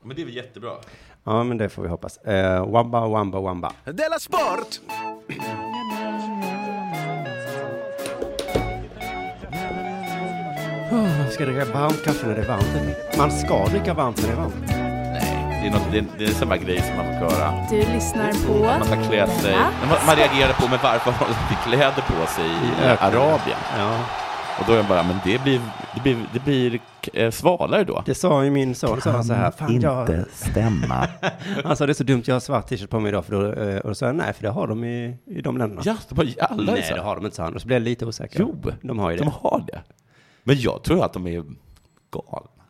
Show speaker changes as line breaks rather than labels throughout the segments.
Men det är väl jättebra?
Ja, men det får vi hoppas. Eh, wamba, wamba, wamba.
Della Sport!
Man Ah, ska dricka varmt kaffe när det är varmt. Man ska dricka varmt när det är varmt.
Det är, något, det, är, det är samma grej som man får höra.
Du lyssnar på...
Man ska klä sig.
Della
Man, man reagerar på, men varför har de inte kläder på sig i eh, Arabien?
Ja,
Och då är jag bara, men det blir, det blir, det blir eh, svalare då.
det sa ju min son. Sa han så här, Fan, jag,
stämma.
han sa det är så dumt, jag har svart t-shirt på mig idag. För då, eh, och då sa jag nej, för det har de i, i de länderna.
Ja, det var ju alla
nej,
så.
det har de inte, sa han. Och så blev jag lite osäker.
Jo,
de har ju det.
De har det. Men jag tror att de är galna.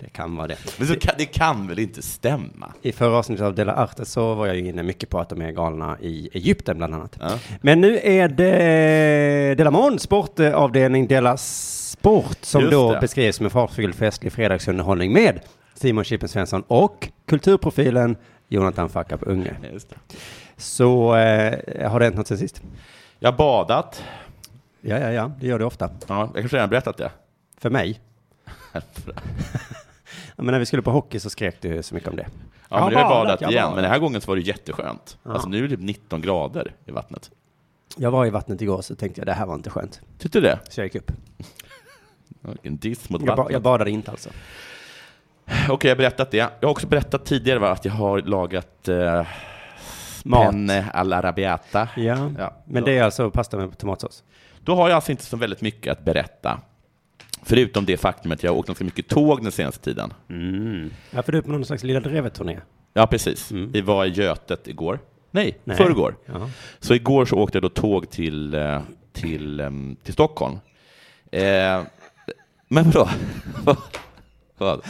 Det kan vara det.
Men så kan, det kan väl inte stämma?
I förra avsnittet av Dela Arte så var jag ju inne mycket på att de är galna i Egypten bland annat.
Ja.
Men nu är det Dela Mon, sportavdelning Dela Sport, som
Just
då
det.
beskrivs som en fartfylld festlig fredagsunderhållning med Simon Chippen Svensson och kulturprofilen Jonathan Facka på Unge. Så eh, har det hänt något sen sist?
Jag har badat.
Ja, ja, ja, det gör det ofta.
Ja, jag kanske redan berättat det.
För mig. Ja, Men när vi skulle på hockey så skrek du så mycket om det.
Ja, men jag har badat
jag har
igen,
badat.
men den här gången så var det jätteskönt. Alltså nu är det typ 19 grader i vattnet.
Jag var i vattnet igår så tänkte jag det här var inte skönt.
Tyckte du det?
Så jag gick upp.
Ja, Vilken diss mot
Jag, ba-
vattnet.
jag badade inte alltså.
Okej, jag har berättat det. Jag har också berättat tidigare va, att jag har lagat eh,
Mat.
penne all'arabiata.
Ja,
Ja,
men
då-
det är alltså pasta med tomatsås.
Då har jag alltså inte så väldigt mycket att berätta. Förutom det faktum att jag har åkt ganska mycket tåg den senaste tiden.
Ja, för du är på någon slags Lilla Drevet-turné.
Ja, precis. Vi var i Götet igår. Nej,
Mm. Nej.
förrgår.
Ja.
Så igår så åkte jag då tåg till, eh, till, ehm, till Stockholm. Eh, men vadå? Vad?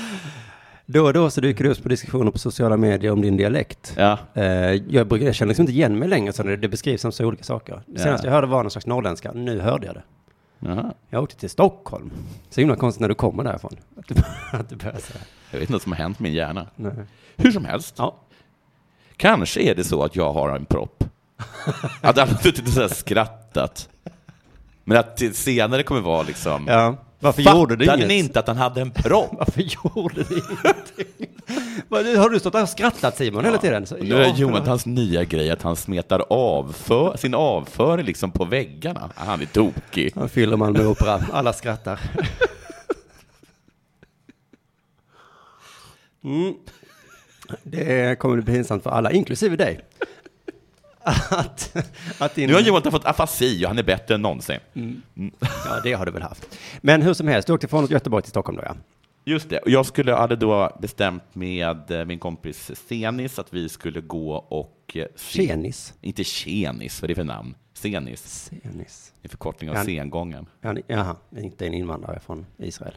Då och då så dyker det upp på diskussioner på sociala medier om din dialekt.
Ja.
Eh, jag, brukar, jag känner liksom inte igen mig längre, så det, det beskrivs som så olika saker. Det senaste
Ja.
jag hörde var någon slags norrländska, nu hörde jag det.
Jaha.
Jag åkte till Stockholm. Så himla konstigt när du kommer därifrån. Att du, att du börjar säga.
Jag vet inte vad som har hänt med min hjärna.
Nej.
Hur som helst,
Ja.
kanske är det så att jag har en propp. Att alla har suttit och så här skrattat. Men att det senare kommer vara liksom...
ja. Varför gjorde du
Fattade
inget?
ni inte att han hade en propp?
Varför gjorde du ingenting? Vad, Har du stått där och skrattat Simon hela tiden? Så,
Och nu är
ja,
Jonathans nya grej att han smetar avför, sin avföring liksom på väggarna. Mm. Han är tokig.
Han fyller Malmö Opera. Alla skrattar. Mm. Det kommer bli pinsamt för alla, inklusive dig. Att, att din...
Nu har Jonathan fått afasi och han är bättre än någonsin.
Ja, det har du väl haft. Men hur som helst, du åkte från Göteborg till Stockholm då, ja.
Just det, och jag skulle, hade då bestämt med eh, min kompis Senis att vi skulle gå och... eh, se-
Tjenis.
Inte Tjenis, vad är det för namn? Senis,
Tjenis.
en förkortning av
Han-
sengången.
Han- Jaha, inte en invandrare från Israel.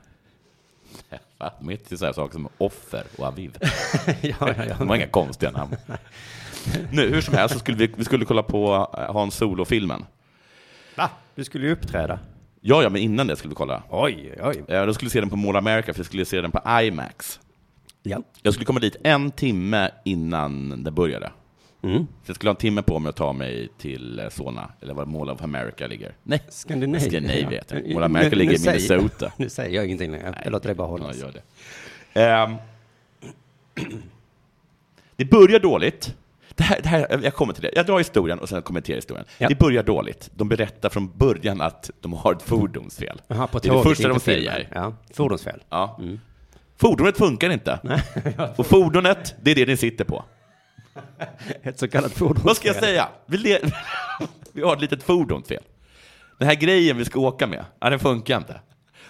Va? De heter ju sådana saker som Offer och Aviv.
ja, ja,
De har inga konstiga namn. Nu, hur som helst så skulle vi, vi skulle kolla på eh, Hans Solo-filmen.
Va? Du skulle ju uppträda.
Ja, ja, men innan det skulle vi kolla.
Oj, oj.
Eh, Då skulle vi se den på Mall America, för vi skulle se den på IMAX.
Ja.
Jag skulle komma dit en timme innan den började.
Mm.
Så jag skulle ha en timme på mig att ta mig till eh, Solna, eller var Mall of America ligger. Nej,
Skandinavien.
Skandinavien vet jag.
Ja.
Mall of America
Nu-
ligger
nu
i Minnesota.
Säger, nu säger jag ingenting längre. Jag låter dig bara hålla.
Ja, gör det. Ehm. det börjar dåligt. Det här, det här, jag kommer till det. Jag drar historien och sen kommenterar historien.
Ja.
Det börjar dåligt. De berättar från början att de har ett fordonsfel.
Jaha, på
det är det
tåget,
första de
inte filmen.
säger.
Ja. Fordonsfel.
Ja. Fordonet funkar inte. Och fordonet, det är det ni sitter på.
Ett så kallat fordonsfel.
Vad ska jag säga? Vi, le- vi har ett litet fordonsfel. Den här grejen vi ska åka med, ja, den funkar inte.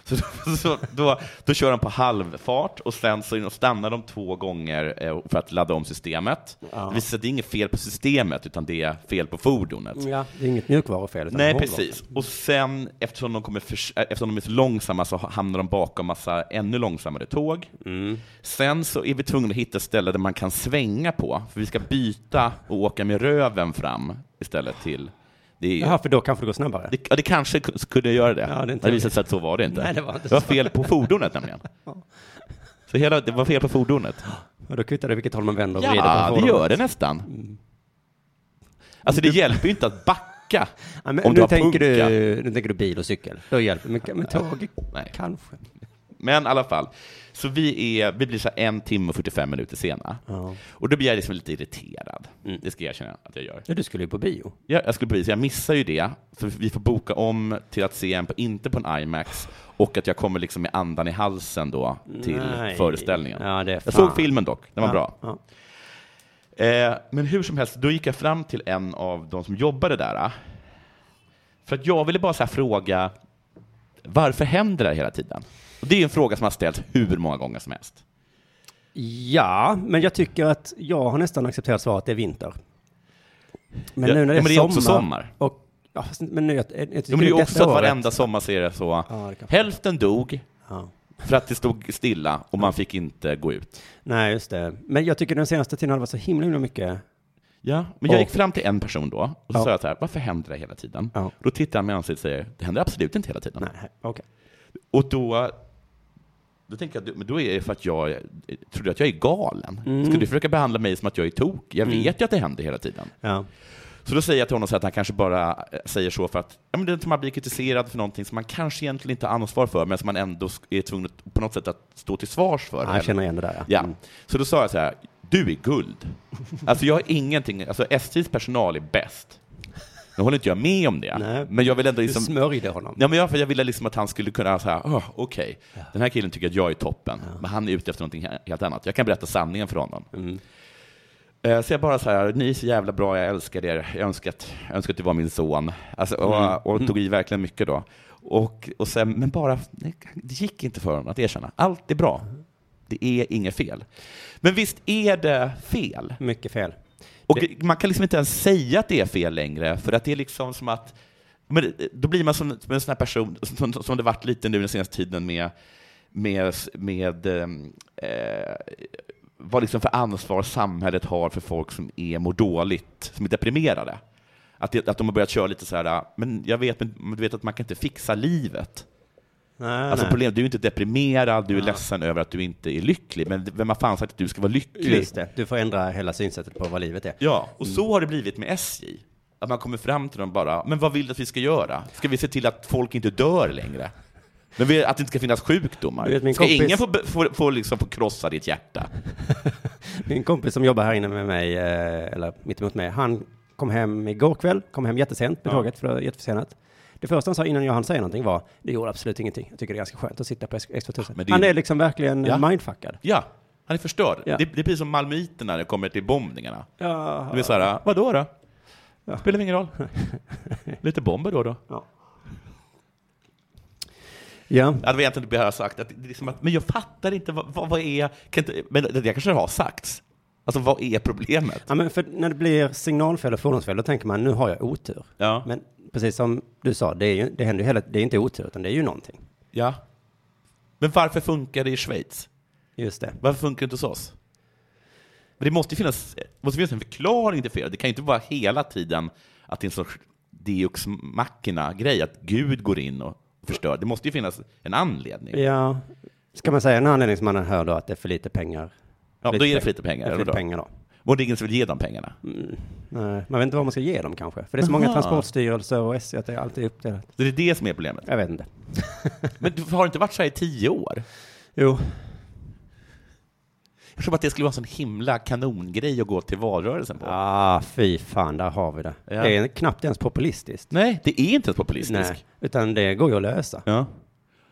Så, så, då, då kör de på halvfart och sen så stannar de två gånger eh, för att ladda om systemet. Det visar sig att det är inget fel på systemet, utan det är fel på fordonet.
Ja, det är inget mjukvarufel. utan
Nej,
hårdvaru.
precis. Och sen, eftersom de, kommer förs- eh, eftersom de är så långsamma så hamnar de bakom massa ännu långsammare tåg.
Mm.
Sen så är vi tvungna att hitta ett ställe där man kan svänga på, för vi ska byta och åka med röven fram istället till... Det,
Jaha, för då kanske det går snabbare.
det, ja, det kanske ku- skulle göra det.
Ja, det är inte-
det visade sig att så var det inte.
Nej, det var inte så.
fel på fordonet nämligen. Så hela, det var fel på fordonet.
Och då kvittar det vilket håll man vänder och vrider på
Ja, det
fordonet. Mm.
gör det nästan. Alltså det hjälper ju inte att backa
Ja, men
om
nu,
du har
tänker
punka.
du, nu tänker du bil och cykel. Då hjälper det. Men, men tåg,
Nej.
kanske.
Men i alla fall, så vi, är, vi blir så här en timme och 45 minuter sena.
Ja.
Och då blir jag liksom lite irriterad.
Mm.
Det ska jag erkänna att jag gör.
Ja, du skulle ju på bio.
Jag, jag skulle precis, jag missar ju det, för vi får boka om till att se en på, inte på en IMAX, och att jag kommer liksom med andan i halsen då till
Nej.
föreställningen.
Ja, det är
jag
fan.
såg filmen dock, den var
ja,
bra.
Ja.
Eh, men hur som helst, då gick jag fram till en av de som jobbade där. ah. För att jag ville bara så här fråga, varför händer det här hela tiden? Och det är ju en fråga som har ställts hur många gånger som helst.
ja, men jag tycker att jag har nästan accepterat svaret att det är vinter. Men
Ja,
nu när
ja,
det är,
men det är också sommar.
Och, ja, fast, men nu, jag, jag, jag
Jo, men det är ju också att
året,
varenda sommar ser det så.
Ja, det kan-
Hälften dog
ja.
för att det stod stilla och man fick inte gå ut.
Nej, just det. Men jag tycker den senaste tiden har det varit så himla, himla mycket.
Ja, men jag
Och-
gick fram till en person då och så
Ja.
sa jag så här, varför händer det hela tiden?
Ja.
Då tittar han mig i ansiktet och säger, det händer absolut inte hela tiden.
Nej, okej.
Och då, då tänker jag, men då är det för att jag trodde att jag är galen.
Mm.
Skulle du försöka behandla mig som att jag är tok? Jag
Mm.
vet ju att det händer hela tiden.
Ja.
Så då säger jag till honom så att han kanske bara eh, säger så för att ja, men det är att man blir kritiserad för någonting som man kanske egentligen inte har ansvar för, men som man ändå sk- är tvungen att på något sätt att stå till svars för.
Ja, jag känner igen det där.
Ja.
Mm.
Så då sa jag så här, du är guld. Alltså jag har ingenting, alltså SJs personal är bäst. Nu håller inte jag med om det,
Nej.
men jag vill ändå
Du
liksom...
smörjde honom.
Ja, men jag, för jag ville liksom att han skulle kunna säga, oh, okej, den här killen tycker att jag är toppen, men han är ute efter någonting he- helt annat. Jag kan berätta sanningen för honom. Eh, Så jag bara så här, ni är så jävla bra, jag älskar er, jag önskar att, jag önskar att du var min son. Alltså, och, och tog i verkligen mycket då. Och, och sen, men bara, det gick inte för honom att erkänna. Allt är bra. Det är inget fel. Men visst är det fel?
Mycket fel.
Och man kan liksom inte ens säga att det är fel längre, för att det är liksom som att... Men eh, då blir man som, som en sån här person, som, som det varit lite nu den senaste tiden med, med, med ehm, eh, vad liksom för ansvar samhället har för folk som är, mår dåligt, som är deprimerade. Att, det, att de har börjat köra lite så här, eh, men jag vet, men du vet att man kan inte fixa livet.
Nej,
Alltså
nej.
problem, du är inte deprimerad, du är ledsen över att du inte är lycklig, men vem har fan sagt att du ska vara lycklig?
Just det. Du får ändra hela synsättet på vad livet är.
Ja, och så har det blivit med SJ. Att man kommer fram till dem bara, men vad vill du att vi ska göra? Ska vi se till att folk inte dör längre? Men vi, att det inte ska finnas sjukdomar?
Du vet, min
ska
kompis-
ingen få, be- få, få, liksom få krossa ditt hjärta?
Min kompis som jobbar här inne med mig, eh, eller mittemot mig, han kom hem igår kväll, kom hem jättesent med
Ja.
tåget, för det var jätteförsenat. Det första han sa innan jag hann säga någonting var, det gjorde absolut ingenting. Jag tycker det är ganska skönt att sitta på X2000.
Men det är-
Han är liksom verkligen
Ja.
eh, mindfuckad.
Ja, han är förstörd.
Ja.
Det, det är precis som malmöiterna när det kommer till bombningarna.
Ja.
Det är så här, vadå då? Spelar ingen roll. Lite bomber då då.
Ja. ja.
Jag hade egentligen inte behövt sagt att, det är liksom att, men jag fattar inte, vad, vad, vad är, kan inte, men det det kanske har sagts. Alltså vad är problemet?
Ja, men för när det blir signalfel och fordonsfel, då tänker man nu har jag otur.
Ja.
Men precis som du sa, det, är ju, det händer ju hela, det är inte otur, utan det är ju någonting.
Ja. Men varför funkar det i Schweiz?
Just det.
Varför funkar det inte hos oss? Men det måste ju finnas, måste finnas en förklaring till fel. Det kan ju inte vara hela tiden att det är en sorts deus machina-grej, att Gud går in och förstör. Det måste ju finnas en anledning.
Ja. Ska man säga en anledning som man hör då, att det är för lite pengar?
Ja, då
lite
är det för lite
pengar.
pengar.
Det är för
eller
lite
då?
pengar då.
Och det är ingen som vill ge dem pengarna.
Nej, man vet inte vad man ska ge dem kanske. För det är så många
Aha.
transportstyrelser och SJ att det är alltid uppdelat.
Så det är det som är problemet.
Jag vet inte.
Men du har det inte varit så här i tio år?
Jo.
Jag tror bara att det skulle vara en sån himla kanongrej att gå till valrörelsen på.
Ah, fy fan, där har vi det.
Ja.
Det är knappt ens populistiskt.
Nej, det är inte ens populistiskt.
Nej, utan det går ju att lösa.
Ja.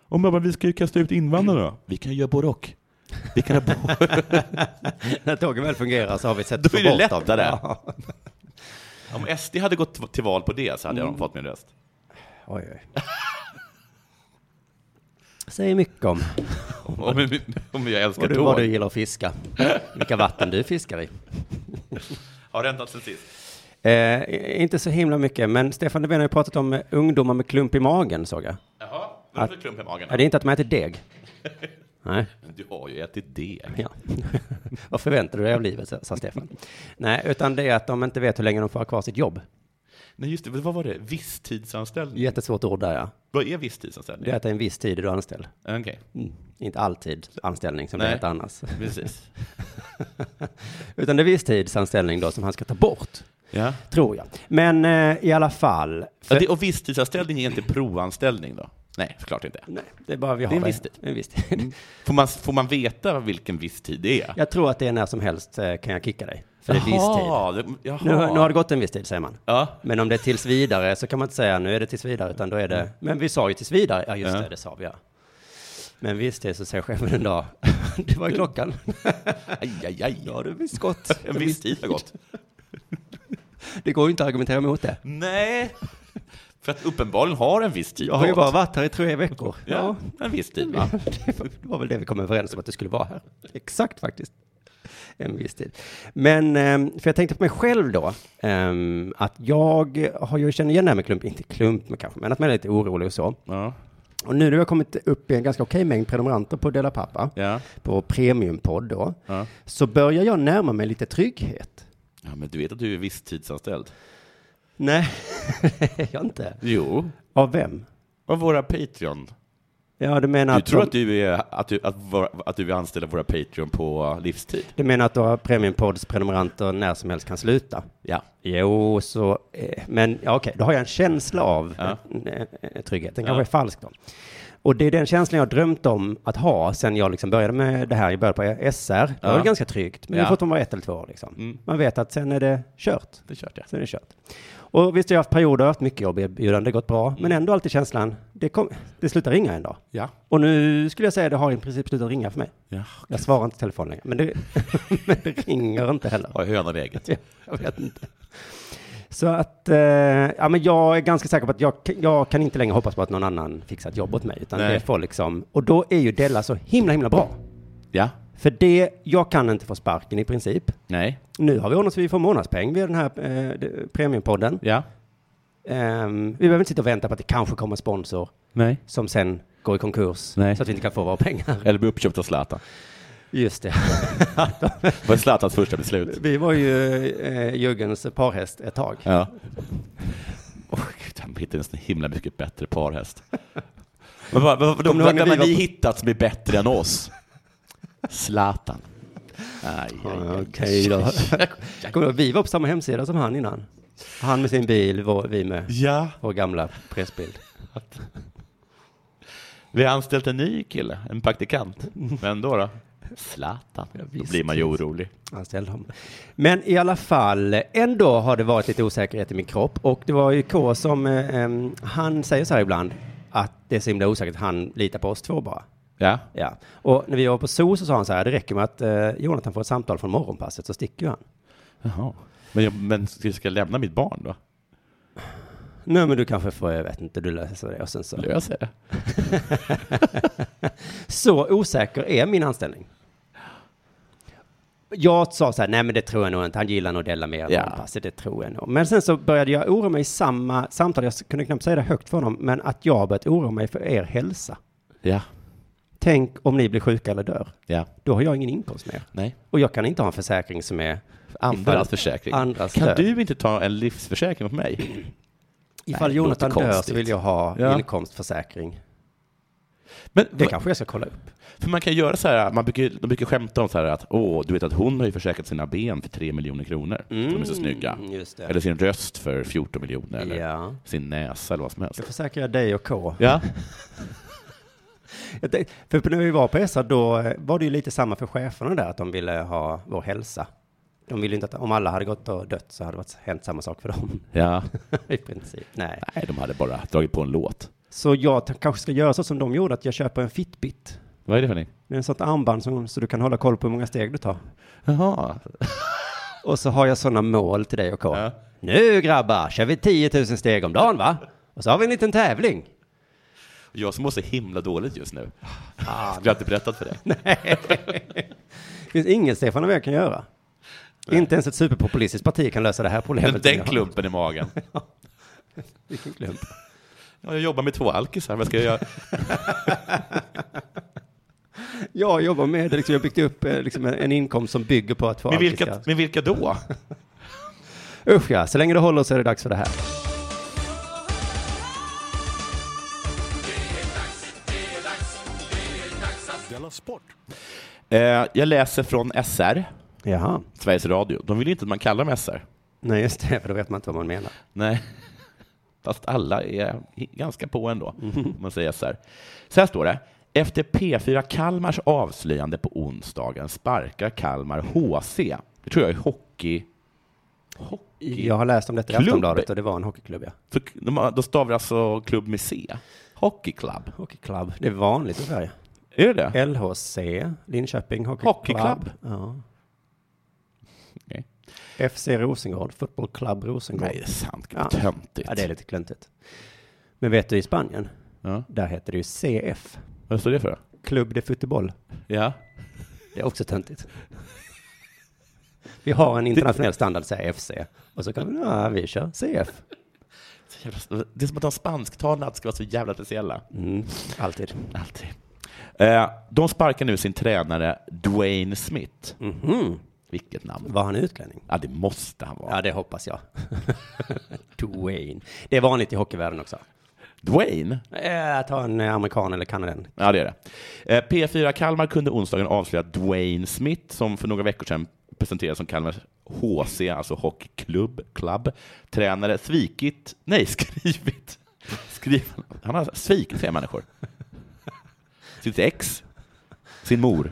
Om jag bara, vi ska ju kasta ut invandrarna. Vi kan ju göra både och. Vi kan ha både.
När tågen väl fungerar så har vi sett
Då är
få
det
bort dem.
lättare.
Ja.
Om SD hade gått till val på det så hade jag fått min röst.
Oj, oj. Säger mycket om
Om, om jag älskar
vad du, vad du
tåg.
gillar att fiska. Vilka vatten du fiskar i.
Har det hänt sen sist?
Eh, inte så himla mycket, men Stefan Löfven har ju pratat om eh, ungdomar med klump i magen, såg jag.
Jaha, nu har du klump i magen.
Ja, det är inte att de äter deg. Nej.
Du har ju ätit deg.
Ja. Vad förväntar du dig av livet, sa Stefan. Nej, utan det är att de inte vet hur länge de får ha kvar sitt jobb.
Nej, just det. Vad var det? Visstidsanställning?
Jättesvårt ord där, ja.
Vad är
Det
visstidsanställning?
är att det är en viss tid du är anställd.
Okej,
Inte alltid anställning som det
Nej.
heter annars.
precis.
Utan det är visstidsanställning då som han ska ta bort,
Ja.
tror jag. Men eh, i alla fall.
Ja,
För,
det, och visstidsanställning är inte provanställning då? Nej, såklart inte.
Nej, det är bara vi har
en viss tid.
En viss tid.
Får man, får man veta vilken viss tid det är?
Jag tror att det är när som helst eh, kan jag kicka dig. För det är viss tid.
Jaha, det- Jaha.
Nu, har- nu har det gått en viss tid, säger man.
Ja.
Men om det är tills vidare så kan man inte säga nu är det tills vidare, utan då är det, men vi sa ju tills vidare, ja just
Mm. Ja.
det, det sa vi ja. Men visst det så säger chefen en dag, det var ju klockan.
Aj, aj, aj.
Ja, har du visst gått.
En viss tid har gått.
Det går ju inte att argumentera emot det.
Nej, för att uppenbarligen har en viss tid
Jag har ju
gått.
bara varit här i tre veckor.
Ja, en viss tid va?
Det var- det var väl det vi kom överens om att du skulle vara här. Exakt faktiskt. En viss tid. Men, ehm, för jag tänkte på mig själv då, ehm, att jag har ju känner igen det här med klump, inte klump men kanske, men att man är lite orolig och så.
Ja.
Och nu när vi har kommit upp i en ganska okej mängd prenumeranter på Dela Pappa,
Ja.
på Premiumpodd då,
Ja.
så börjar jag närma mig lite trygghet.
ja, men du vet att du är visstidsanställd?
Nej, det är jag inte.
Jo.
Av vem?
Av våra Patreon.
Ja, du menar
Du
att,
tror
de,
att du, är, att, du, att, våra- att du är anställd av våra Patreon på livstid?
du menar att då Premiumpodds prenumeranter när som helst kan sluta?
Ja.
Jo, så, eh, men ja, okej, då har jag en känsla av
Ja.
eh, eh, trygghet. Den kanske är falsk då. Och det är den känslan jag har drömt om att ha sen jag liksom började med det här. Jag började på SR. Det var
Ja.
ganska tryggt, men
Ja.
det får man vara ett eller två år liksom.
Mm.
Man vet att sen är det kört.
Det körde jag.
Sen är det kört. Och visst, jag har haft perioder, haft mycket jobberbjudande, gått bra, men ändå alltid känslan, det, kom, det slutar ringa en dag.
Ja.
Och nu skulle jag säga, det har i princip slutat ringa för mig.
ja.
Jag svarar inte i telefon längre, men det, men det ringer inte heller.
Har hönan i ägget?
Ja, Jag vet inte. Så att, eh, ja men jag är ganska säker på att jag, jag kan inte längre hoppas på att någon annan fixar ett jobb åt mig, utan
Nej.
det får liksom, och då är ju Della så himla, himla bra.
Ja.
För det, jag kan inte få sparken i princip.
Nej.
Nu har vi ordnat så vi får månadspeng via den här eh, de- premiumpodden.
Ja.
Ehm, vi behöver inte sitta och vänta på att det kanske kommer en sponsor
Nej.
som sen går i konkurs
Nej.
så att vi inte kan få våra pengar.
Eller bli uppköpt av Zlatan.
Just det.
Det var Zlatans första beslut.
Vi var ju eh, Jürgens parhäst ett tag.
Ja. Åh, gud, han hittade en så himla mycket bättre parhäst. Men vad, vad, vad,
Kommer du ihåg
vad
när
kan
vi
vi,
var på-
hittat som är bättre än oss? Zlatan. Aj, aj, aj.
Okej då. Kommer du ihåg, vi var på samma hemsida som han innan. Han med sin bil, vår, vi med
Ja,
vår gamla pressbild.
vi har anställt en ny kille, en praktikant. Vem då? då? Zlatan. Då
visst.
blir man ju orolig.
Anställd honom. Men i alla fall, ändå har det varit lite osäkerhet i min kropp. Och det var ju K som, eh, em, han säger så här ibland, att det är så himla osäkert, han litar på oss två bara.
Ja.
Ja, och när vi var på zoo så sa han så här, det räcker med att eh, Jonathan får ett samtal från morgonpasset så sticker ju han.
Jaha. Men, jag, men ska jag lämna mitt barn då?
Nej men du kanske får, jag vet inte, du löser det och sen så.
Löser det?
Så osäker är min anställning. Jag sa så här, nej men det tror jag nog inte, han gillar nog Della mer än
Ja.
morgonpasset, det tror jag nog. Men sen så började jag oroa mig i samma samtal, jag kunde knappt säga det högt för honom, men att jag har börjat oroa mig för er hälsa.
Ja.
Tänk om ni blir sjuka eller dör,
Ja.
då har jag ingen inkomst mer.
Nej.
Och jag kan inte ha en försäkring som är
Andras försäkring.
andras
Kan
död.
du inte ta en livsförsäkring åt mig?
Ifall
Nej,
Jonathan
låter
dör så
konstigt.
vill jag ha
Ja.
inkomstförsäkring.
Men,
Det kanske jag ska kolla upp.
För man kan göra så här, man brukar, de brukar skämta om så här att åh, du vet att hon har ju försäkrat sina ben för 3 miljoner kronor. De är så snygga.
Mm, Just det.
Eller sin röst för 14 miljoner. Eller
Ja.
sin näsa eller vad som helst.
Då försäkrar jag dig och K.
Ja,
Jag tänkte- För när vi var på SR då eh, var det ju lite samma för cheferna där, att de ville ha vår hälsa. De ville inte att, om alla hade gått och dött så hade det varit- hänt samma sak för dem.
ja.
I princip. Nej.
Nej, de hade bara dragit på en låt.
Så jag t- kanske ska göra så som de gjorde, att jag köper en Fitbit.
Vad är det för någonting?
Det är en sån armband som, så du kan hålla koll på hur många steg du tar.
Jaha.
Och så har jag sådana mål till dig och K.
Ja.
Nu grabbar, kör vi 10 000 steg om dagen va? Och så har vi en liten tävling.
Jag som mår så himla dåligt just nu. Skulle jag inte berättat för dig.
Det finns inget Stefan och jag kan göra. Inte ens ett superpopulistiskt parti kan lösa det här problemet.
Den,
som jag
den
har.
klumpen i magen.
Vilken klump.
Ja, jag jobbar med två alkisar, vad ska jag göra?
Jag jobbar med det, liksom, jag har byggt upp eh, liksom, en- en inkomst som bygger på att få
Med vilka,
alkisar.
med vilka då?
Usch ja, så länge det håller så är det dags för det här.
Eh, jag läser från SR,
Jaha,
Sveriges Radio. De vill ju inte att man kallar dem SR.
nej just det, för då vet man inte vad man menar.
Nej. Fast alla är ganska på ändå, om man säger så här. Så här står det. Efter P4 Kalmars avslöjande på onsdagen sparkar Kalmar HC. Det tror jag är hockey... Hockey?
Jag har läst om detta i
Klubb.
Aftonbladet och det var en hockeyklubb, ja.
För de, har- de stavar alltså klubb med C. Hockey Club.
Hockeyklubb. Det är vanligt i Sverige.
Är det det?
LHC, Linköping Hockey,
Hockeyklubb.
Club. Ja.
Okej.
FC Rosengård, Football Club Rosengård.
Nej, det är sant.
Ja.
Vad töntigt.
Ja, det är lite kluntigt. Men vet du, i Spanien,
Ja.
där heter det ju CF,
Vad står det för?
Club de Futebol.
Ja.
Det är också töntigt. Vi har en internationell standard, säger FC. Och så kan vi, ja, vi kör CF.
Så jävla- Det är som att de spansktalande alltid ska vara så jävla speciella.
Mm, alltid.
Alltid. Eh, de sparkar nu sin tränare Dwayne Smith.
Mhm.
Vilket namn.
Var han utlänning?
Ja, det måste han vara.
Ja, det hoppas jag. Dwayne. Det är vanligt i hockeyvärlden också.
Dwayne?
Eh, Att ha en eh, amerikan eller kanadensare.
Ja, det är det. Eh, P4 Kalmar kunde onsdagen avslöja Dwayne Smith, som för några veckor sedan presenterades som Kalmars HC, alltså hockeyklubb, club, tränare, svikit, nej, skrivit, skrivit, han har svikit fler människor. Sitt ex, sin mor,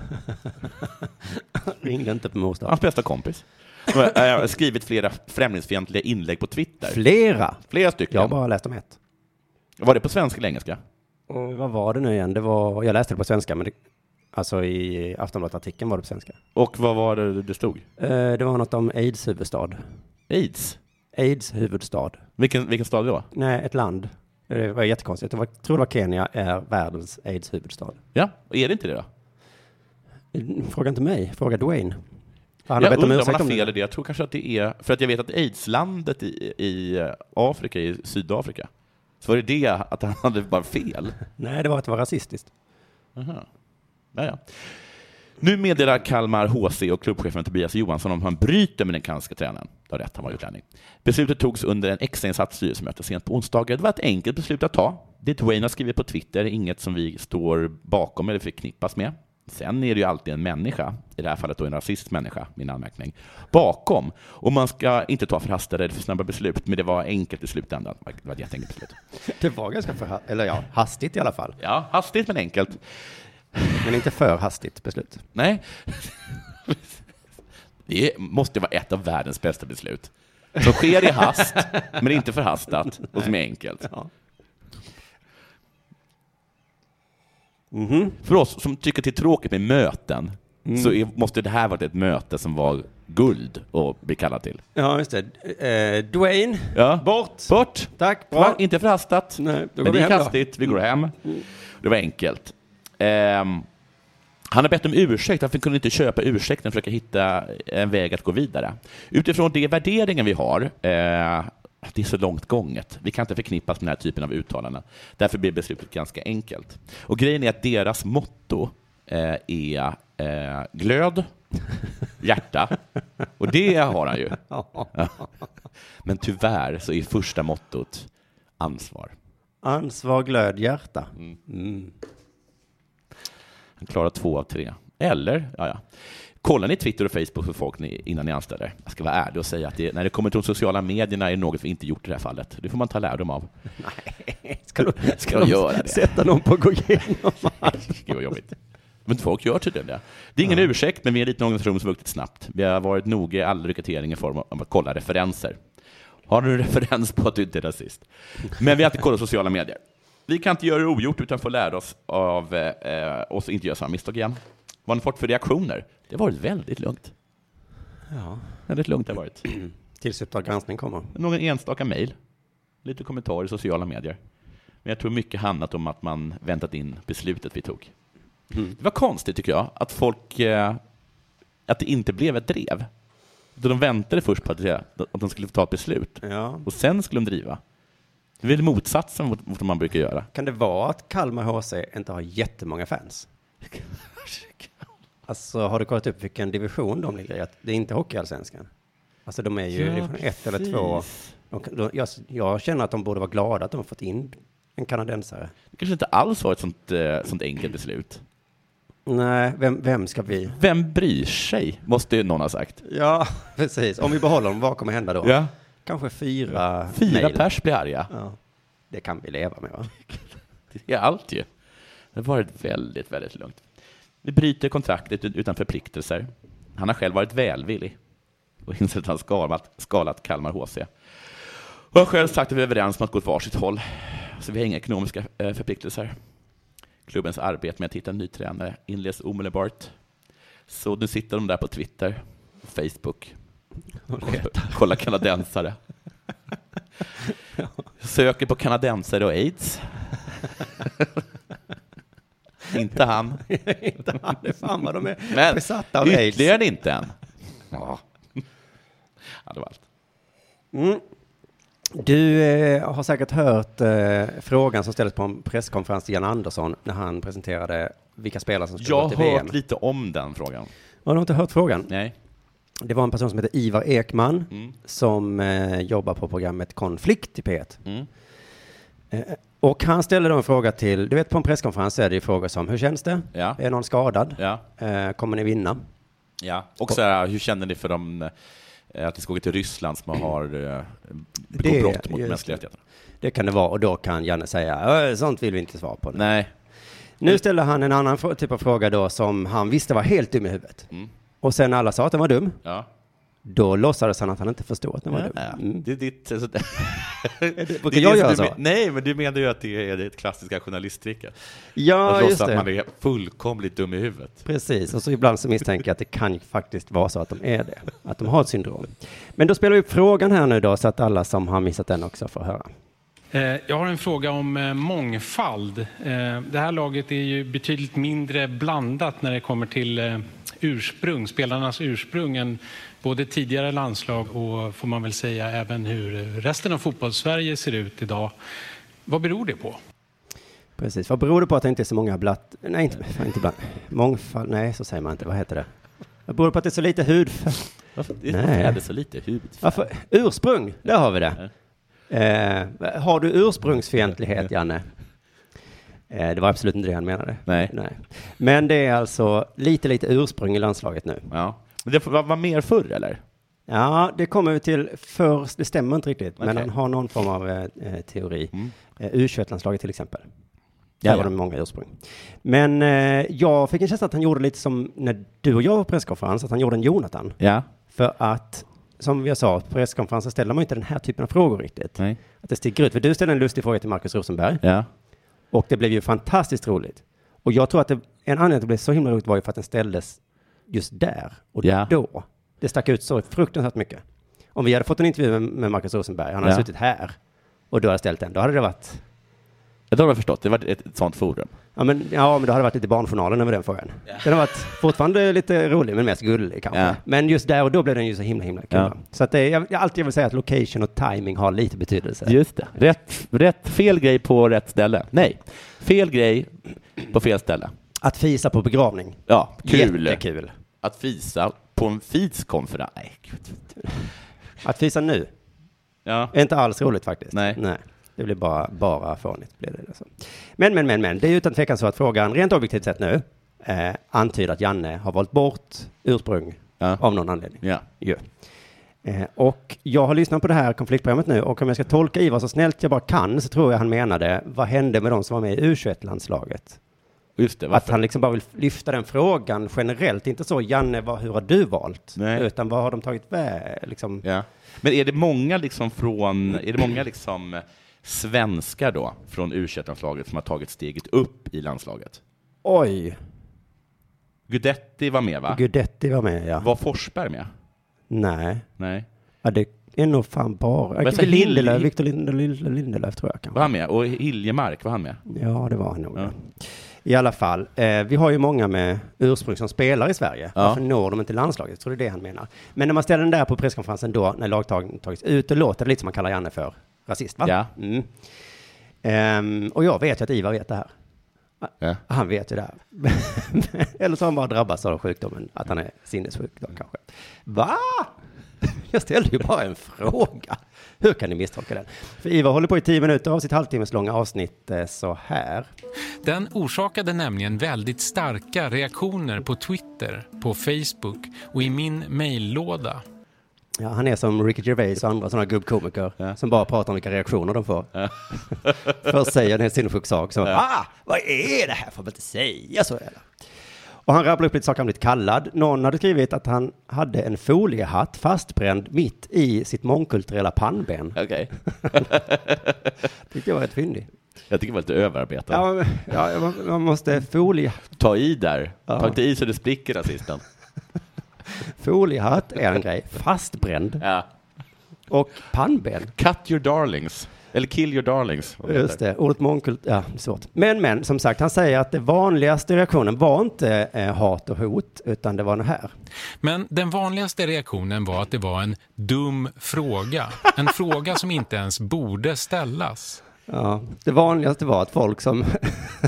Ringde inte på mors dag.
hans bästa kompis. Eh, Skrivit flera främlingsfientliga inlägg på Twitter.
Flera!
Flera stycken.
Jag har bara läst om ett.
Var det på svenska eller engelska?
Och vad var det nu igen? Det var, jag läste det på svenska, men det, alltså i Aftonbladet-artikeln var det på svenska.
Och vad var det det stod?
Eh, Det var något om aids huvudstad.
Aids?
Aids huvudstad.
Vilken, vilken stad det var?
Nej, ett land. Det var jättekonstigt. Jag var- tror det var Kenya är världens aids huvudstad.
Ja, är det inte det då?
Fråga inte mig, fråga Dwayne. För Han
jag
har bett om
undrar om
ursäkt
han har
om
fel
det.
i det. Jag tror kanske att det är... För att jag vet att aidslandet i, i Afrika, i Sydafrika, så var det det att han hade bara fel.
Nej, det var att det var rasistiskt.
Aha. Naja. Nu meddelar Kalmar HC och klubbchefen Tobias Johansson om han bryter med den kanske tränaren. Du har rätt, han var utlänning. Beslutet togs under en extrainsatt styrelsemöte sent på onsdagen. Det var ett enkelt beslut att ta. Det Dwayne har skrivit på Twitter är inget som vi står bakom eller förknippas med. Sen är det ju alltid en människa, i det här fallet då en rasist människa, min anmärkning, bakom. Och man ska inte ta förhastade eller för snabba beslut, men det var enkelt i slutändan. Det var ett jätteenkelt beslut.
Det var ganska för, eller ja, hastigt i alla fall.
Ja, hastigt men enkelt.
Men inte för hastigt beslut.
Nej. Det måste vara ett av världens bästa beslut. Som sker i hast, men inte förhastat och som är enkelt.
Ja.
För oss som tycker att det är tråkigt med möten så är, måste det här varit ett möte som var guld att bli kallad till.
Ja, just det. Eh, Dwayne,
Ja.
bort!
Bort!
Tack,
Va?
bra.
Inte förhastat.
Nej, då går
men det
vi
gick
hem då. Mm.
hastigt. Vi går hem. Det var enkelt. Ehm, han har bett om ursäkt. Han kunde inte köpa ursäkten och försöka hitta en väg att gå vidare. Utifrån de värderingar vi har, eh, att det är så långt gånget. Vi kan inte förknippas med den här typen av uttalanden. Därför blir beslutet ganska enkelt. Och grejen är att deras motto eh, är eh, glöd, hjärta. Och det har han ju.
Ja.
Men tyvärr så är första mottot ansvar.
Ansvar, glöd, hjärta.
Han klarar två av tre. Eller, ja, ja. Kollar ni Twitter och Facebook för folk ni, innan ni anställer? Jag ska vara ärlig och säga att det, när det kommer till de sociala medierna är det något vi inte gjort i det här fallet. Det får man ta lärdom av.
Ska, du,
Ska jag göra det?
Sätta någon på att gå igenom allt.
Gud vad jobbigt. Men folk gör tydligen det. Det är ingen ursäkt, men vi är en liten organisation som vuxit snabbt. Vi har varit noga i all rekrytering i form av att kolla referenser. Har du en referens på att du inte är rasist? Men vi har alltid kollat sociala medier. Vi kan inte göra det ogjort utan får lära oss av eh, oss och inte göra samma misstag igen. Vad har ni fått för reaktioner? Det har varit väldigt lugnt.
Ja.
Väldigt lugnt har det varit.
Tills Uppdrag granskning kommer.
Någon enstaka mejl, lite kommentarer i sociala medier. Men jag tror mycket handlat om att man väntat in beslutet vi tog.
Mm.
Det var konstigt tycker jag, att folk, eh, att det inte blev ett drev. Utan De väntade först på att, det, att de skulle ta ett beslut
Ja.
och sen skulle de driva. Det är väl motsatsen mot, mot vad man brukar göra.
Kan det vara att Kalmar HC inte har jättemånga fans? Alltså, har du kollat upp vilken division de ligger i? Att Det är inte Hockeyallsvenskan. Alltså, de är ju
Ja,
division ett eller
precis.
två. De, de, jag, jag känner att de borde vara glada att de har fått in en kanadensare.
Det kanske inte alls var ett sånt, eh, sånt enkelt beslut.
Nej, vem, vem ska vi?
Vem bryr sig? Måste ju någon ha sagt.
Ja, precis. Om vi behåller dem, vad kommer hända då? Kanske fyra
Fyra
mejl.
pers blir arga.
Ja. Det kan vi leva med, va?
Det är allt ju. Det har varit väldigt, väldigt lugnt. Vi bryter kontraktet ut- utan förpliktelser. Han har själv varit välvillig och insett att han skalat, skalat Kalmar HC. Och har själv sagt att vi är överens om att gå åt varsitt håll, så vi har inga ekonomiska eh, förpliktelser. Klubbens arbete med att hitta en ny tränare inleds omedelbart. Så nu sitter de där på Twitter, Facebook, kolla- kolla kanadensare. Söker på kanadensare och aids. Inte han.
Inte han, det är fan vad de är
Men
besatta av aids.
ytterligare inte än. Ja. det var allt.
Mm. Du eh, har säkert hört eh, frågan som ställdes på en presskonferens till Jan Andersson när han presenterade vilka spelare som skulle
Jag
gå
har
till VM.
hört lite om den frågan.
Ja, du har inte hört frågan?
Nej.
Det var en person som heter Ivar Ekman
Mm.
som eh, jobbar på programmet Konflikt i P1.
Mm.
Och han ställde då en fråga till, du vet på en presskonferens är det ju frågor som hur känns det?
Ja.
Är någon skadad?
Ja.
Eh, kommer ni vinna?
ja. Och så här, hur känner ni för de, eh, att ni ska åka till Ryssland som har eh,
Det-
begått brott mot
just
mänskliga
det.
rättigheter?
Det kan det vara och då kan Janne säga, "Äh, sånt vill vi inte svara på.
Nej.
Nu ställde han en annan frå- typ av fråga då som han visste var helt dum i huvudet.
Mm.
Och sen när alla sa att den var dum,
Ja.
då låtsades han att han inte förstod att den var
Nej,
dum. Mm.
Det är ditt... Så, det,
brukar
det är det
jag alltså?
som
göra
du
så?
men- Nej, men du menar ju att det är det klassiska journalisttricket.
Ja,
att
just
låtsas
det.
att man är fullkomligt dum i huvudet.
Precis, och så ibland så misstänker jag att det kan ju faktiskt vara så att de är det, att de har ett syndrom. Men då spelar vi upp frågan här nu då, så att alla som har missat den också får höra.
Eh, Jag har en fråga om eh, mångfald. Eh, Det här laget är ju betydligt mindre blandat när det kommer till eh, ursprung, spelarnas ursprung än både tidigare landslag och får man väl säga även hur eh, resten av fotbollssverige ser ut idag. Vad beror det på?
Precis, vad beror det på att det inte är så många blatt... Nej, inte, fan, inte blatt... Mångfald... Nej, så säger man inte. Vad heter det? Vad beror det på att det är så lite hudfärg?
Varför
Nej. varför är det
så lite hudfärg?
Varför? Ursprung, där har vi det. Eh, har du ursprungsfientlighet, Janne? Eh, det var absolut inte det han menade.
Nej.
Men det är alltså lite, lite ursprung i landslaget nu.
Ja. Men det var, var mer förr, eller?
Ja, det kommer vi till först. Det stämmer inte riktigt, men
Okej.
han har någon form av eh, eh, teori.
Mm.
Eh, U21-landslaget till exempel. Där
Jaja.
var det många ursprung. Men eh, jag fick en känsla att han gjorde lite som när du och jag var på presskonferens, att han gjorde en Jonathan.
Ja.
För att, som jag sa, på presskonferenser ställer man ju inte den här typen av frågor riktigt.
Nej.
Att det sticker ut. För du ställde en lustig fråga till Markus Rosenberg
Ja.
och det blev ju fantastiskt roligt. Och jag tror att det, en anledning till att det blev så himla roligt var ju för att den ställdes just där och
Ja.
då. Det stack ut så fruktansvärt mycket. Om vi hade fått en intervju med, med Markus Rosenberg, han hade
Ja.
suttit här och du hade ställt den, då hade det varit
Det har jag förstått. Det var ett, ett sånt forum.
Ja men, ja, men det hade varit lite Barnjournalen över den frågan. Den har varit fortfarande lite rolig, men mest gullig kanske.
Ja.
Men just där och då blev den ju så himla, himla kul.
Ja.
va? Så att det, är- jag, jag alltid vill säga att location och timing har lite betydelse.
Just det. Rätt, rätt, fel grej på rätt ställe. Nej, fel grej på fel ställe.
Att fisa på begravning.
Ja, kul.
Jättekul.
Att fisa på en fiskonferens. Nej, gud.
Att fisa nu
Ja.
är inte alls roligt faktiskt.
Nej.
Det blir bara, bara fånigt. Blir det alltså. Men, men, men, men. Det är utan tvekan så att frågan, rent objektivt sett nu, eh, antyder att Janne har valt bort ursprung
Ja.
av någon anledning.
ja.
ju. Eh, och jag har lyssnat på det här konfliktprogrammet nu och om jag ska tolka Ivar så snällt jag bara kan så tror jag han menade, vad hände med de som var med i U21-landslaget?
Just det.
Att
Varför?
han liksom bara vill lyfta den frågan generellt, inte så Janne, vad, hur har du valt?
Nej.
Utan vad har de tagit med? Liksom,
Ja. Men är det många liksom från, är det många liksom svenskar då, från u landslaget som har tagit steget upp i landslaget?
Oj,
Gudetti var med, va?
Gudetti var med ja.
Var Forsberg med?
Nej,
Nej.
ja, det är nog fan bara,
Men så
Lindelöf,
Hill-
Victor Lindelöf, Lindelöf, Lindelöf tror jag
Var
kanske.
han med? Och Hiljemark, var han med?
Ja, det var han nog.
Ja.
I alla fall, eh, vi har ju många med ursprung som spelar i Sverige.
Ja.
Varför når de inte landslaget? Jag tror det är det han menar. Men när man ställer den där på presskonferensen då, när lagtagen tagits ut, då låter det lite som man kallar Janne för rasist, va?
Ja.
Mm. Ehm, och jag vet ju att Ivar vet det här.
Ja.
Han vet ju det här. Eller så har han bara drabbats av sjukdomen, att han är sinnessjuk då kanske. Va? Jag ställde ju bara en fråga. Hur kan ni misstolka den? För Ivar håller på i tio minuter av sitt halvtimmeslånga avsnitt eh, så här.
Den orsakade nämligen väldigt starka reaktioner på Twitter, på Facebook och i min mejllåda.
Ja, han är som Ricky Gervais och andra sådana gubbkomiker som bara pratar om vilka reaktioner de får. Först säger han en helt sinnessjuk sak, så ah, vad är det här? Får man inte säga så? Eller? Och han rabblar upp lite saker han blivit kallad. Någon hade skrivit att han hade en foliehatt fastbränd mitt i sitt mångkulturella pannben.
Okej.
Tyckte jag var rätt fyndig.
Jag tycker det var lite överarbetat.
Ja, men- ja, man- man måste folie,
Ta i där.
Ja.
Ta inte i så det spricker rasisten.
foliehatt är en grej, fastbränd
Ja.
och pannben.
Cut your darlings. Eller kill your darlings. vad det
Just
heter.
det, ordet mångkult, ja, svårt. Men, men, som sagt, han säger att den vanligaste reaktionen var inte eh, hat och hot, utan det var den här.
Men den vanligaste reaktionen var att det var en dum fråga. En fråga som inte ens borde ställas.
Ja, det vanligaste var att folk som,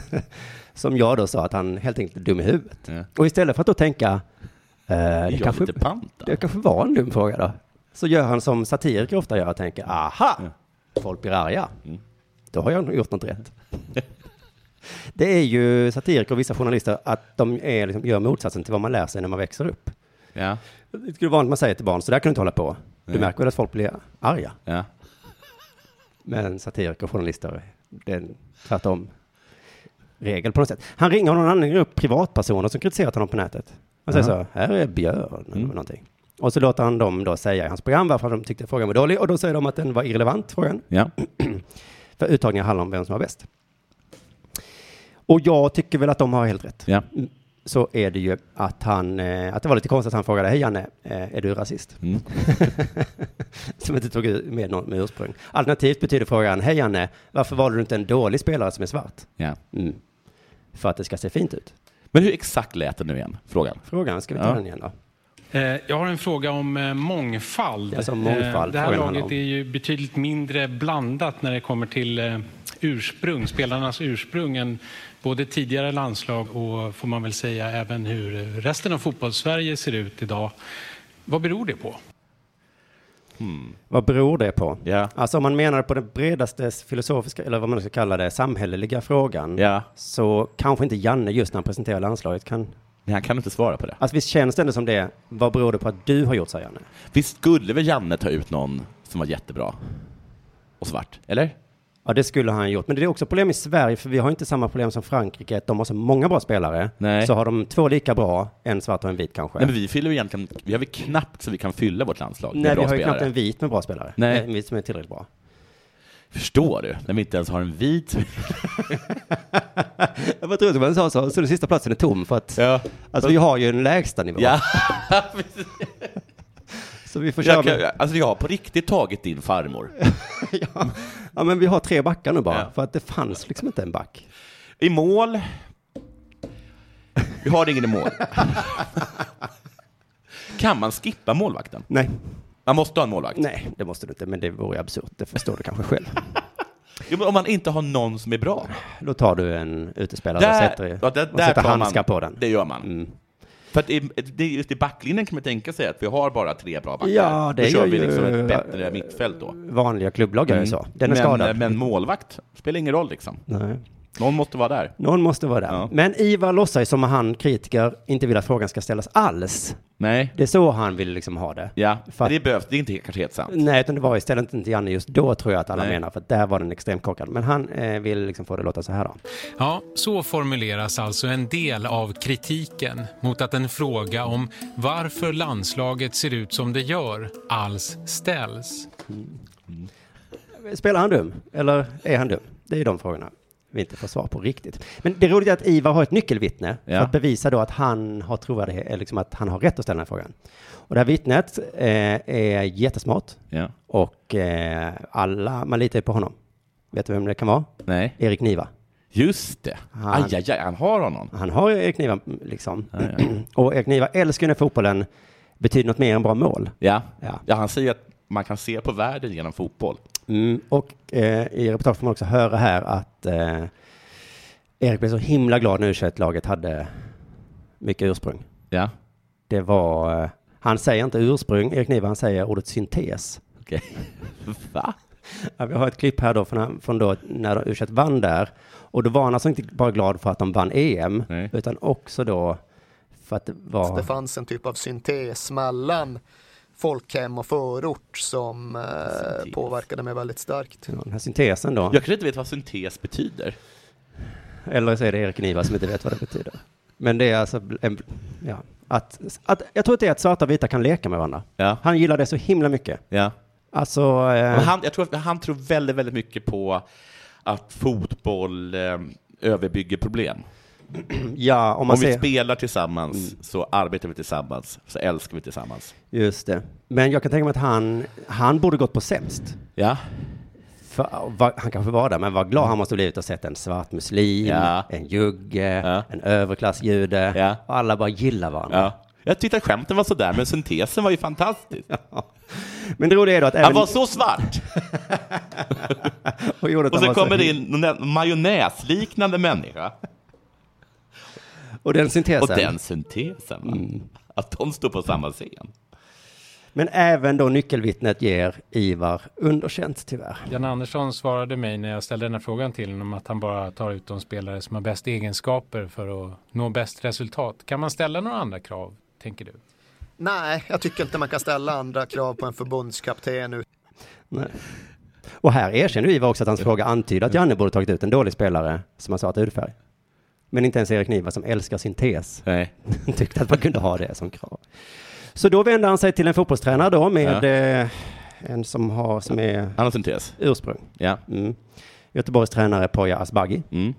som jag då sa att han helt enkelt är dum i huvudet.
Ja.
Och istället för att då tänka, eh, det,
Jag
kanske,
lite pant då.
det kanske var en dum fråga då, så gör han som satiriker ofta gör och tänker, aha, folk blir arga. Då har jag nog gjort något rätt. det är ju satiriker och vissa journalister att de är, liksom, gör motsatsen till vad man lär sig när man växer upp.
Ja.
Det skulle vara att man säger till barn, så där kan du inte hålla på. Du märker väl att folk blir arga.
Ja.
Men satiriker och journalister, det är en tvärtom regel på något sätt. Han ringer någon annan grupp privatpersoner som kritiserat honom på nätet. Han säger så, här är Björn eller någonting. Och så låter han dem då säga i hans program varför de tyckte frågan var dålig och då säger de att den var irrelevant, frågan.
ja.
För uttagningen handlar om vem som var bäst. Och jag tycker väl att de har helt rätt.
ja.
Så är det ju att han, eh, att det var lite konstigt att han frågade, hej Janne, eh, är du rasist?
Mm.
som inte tog ut med någon med ursprung. Alternativt betyder frågan, hej Janne, varför valde du inte en dålig spelare som är svart?
ja.
Mm. För att det ska se fint ut.
Men hur exakt lät det nu igen? Frågan.
Frågan, ska vi ta
Ja.
den igen då?
Eh, Jag har en fråga om eh, mångfald.
Alltså mångfald,
Eh, Det här
frågan handlar om.
laget är ju betydligt mindre blandat när det kommer till eh, ursprung, spelarnas ursprung än både tidigare landslag och får man väl säga även hur eh, resten av fotbollssverige ser ut idag. Vad beror det på?
Vad beror det på?
Ja.
Alltså om man menar på den bredaste filosofiska, eller vad man ska kalla det, samhälleliga frågan,
Ja.
så kanske inte Janne just när han presenterar landslaget kan...
Nej, han kan inte svara på det.
Alltså visst känns det ändå som det, vad beror det på att du har gjort så här, Janne?
Visst skulle väl Janne ta ut någon som var jättebra? Och svart? Eller?
Ja, det skulle han ha gjort. Men det är också problem i Sverige, för vi har inte samma problem som Frankrike. att De har så många bra spelare.
Nej.
Så har de två lika bra, en svart och en vit kanske.
Nej, men vi fyller ju egentligen... Vi har väl knappt så vi kan fylla vårt landslag med
Nej, vi
bra
har ju
spelare.
knappt en vit med bra spelare.
Nej.
En vit som är tillräckligt bra.
Förstår du? När vi inte ens har en vit...
Jag var trodde man sa så, så den sista platsen är tom för att
Ja.
Alltså vi har ju en lägsta nivå.
ja.
Så vi får köra
Jag, kan,
med,
alltså jag har på riktigt tagit din farmor.
ja. ja, men vi har tre backar nu bara.
Ja.
För att det fanns liksom inte en back.
I mål. Vi har ingen i mål. Kan man skippa målvakten?
Nej,
Man måste ha en målvakt.
nej, det måste du inte. Men det vore ju absurt. Det förstår du kanske själv.
Jo, men om man inte har någon som är bra.
Då tar du en utespelare och sätter,
ja, där-
och
där
sätter
tar man-
handskar på den.
Det gör man.
Mm.
För att i, det, är just i backlinjen kan man tänka sig att vi har bara tre bra backar.
Ja, det
Då kör
gör
vi liksom
ju-
ett bättre mittfält då.
Vanliga klubblag gör ju så. Den är
Mm. men,
skadad.
men målvakt spelar ingen roll liksom.
Nej.
Någon måste vara där.
Någon måste vara där.
Ja.
Men Ivar låtsas som han, kritiker, inte vill att frågan ska ställas alls.
Nej.
Det är så han vill liksom ha det.
Ja,
För att-
det behövs. Det är inte kanske helt sant.
Nej, utan det var istället inte Janne just då tror jag att alla
Nej.
menar, för att där var den extremt korkad. Men han eh, vill liksom få det att låta så här då.
Ja, så formuleras alltså en del av kritiken mot att en fråga om varför landslaget ser ut som det gör alls ställs.
Spelar han dum? Eller är han dum? Det är ju de frågorna vi inte får svar på riktigt. Men det roliga är att Ivar har ett nyckelvittne
Ja.
för att bevisa då att han har trovärdighet, eller liksom att han har rätt att ställa den här frågan. Och det här vittnet eh, är jättesmart
Ja.
och eh, alla, man litar ju på honom. Vet du vem det kan vara?
Nej.
Erik Niva.
Just det.
Han-
Aj, aj, aj, han har honom.
Han har ju Erik Niva liksom. och Erik Niva älskar ju när fotbollen betyder något mer än bra mål.
Ja.
Ja.
Ja. han säger att man kan se på världen genom fotboll.
Mm, och eh, i reportaget får man också höra här att eh, Erik blev så himla glad när U21-laget hade mycket ursprung.
Ja,
Det var, eh, han säger inte ursprung, Erik Niva, han säger ordet syntes.
okej. Va?
Ja, vi har ett klipp här då från, från då när U21 vann där. Och då var han alltså inte bara glad för att de vann E EM,
Nej.
utan också då för att det var...
Det fanns en typ av syntes mellan folkhem och förort som eh, påverkade mig väldigt starkt.
Ja, den här syntesen då.
Jag kan inte veta vad syntes betyder.
Eller så är det Erik Niva som inte vet vad det betyder. Men det är alltså en, ja, att, att, jag tror att det är att svarta och vita kan leka med varandra.
Ja.
Han gillar det så himla mycket.
Ja.
Alltså,
Men
eh,
han, jag tror, att han tror väldigt, väldigt mycket på att fotboll eh, överbygger problem.
ehm, ja, om man
Om vi
ser.
spelar tillsammans så arbetar vi tillsammans, så älskar vi tillsammans.
Just det. Men jag kan tänka mig att han, han borde gått på sämst.
Ja,
För, va, han kanske var där, men vad glad han måste ha blivit att sett en svart muslim,
Ja.
en jugge,
Ja.
en överklassjude.
Ja.
Och alla bara gillar varandra.
ja. Jag tyckte att skämten var sådär, men syntesen var ju fantastisk.
Men det roliga är då att även...
Han var så svart!
och gjorde att
Och
han
så
var så-
kommer det in någon majonnäsliknande människa.
Och den syntesen.
Och den syntesen, va? att de står på samma scen.
Men även då nyckelvittnet ger Ivar underkänt tyvärr.
Jan Andersson svarade mig när jag ställde den här frågan till honom att han bara tar ut de spelare som har bäst egenskaper för att nå bäst resultat. Kan man ställa några andra krav, tänker du?
Nej, jag tycker inte man kan ställa andra krav på en förbundskapten nu.
Nej. Och här erkänner Ivar också att hans fråga antyder att Janne borde tagit ut en dålig spelare som han sa att hudfärg. Men inte ens Erik Niva som älskar syntes
Nej.
tyckte att man kunde ha det som krav. Så då vänder han sig till en fotbollstränare då med
Ja.
eh, en som, har, som är
Han har syntes.
ursprung.
Ja.
Mm. Göteborgs tränare Poya Asbaghi.
Mm.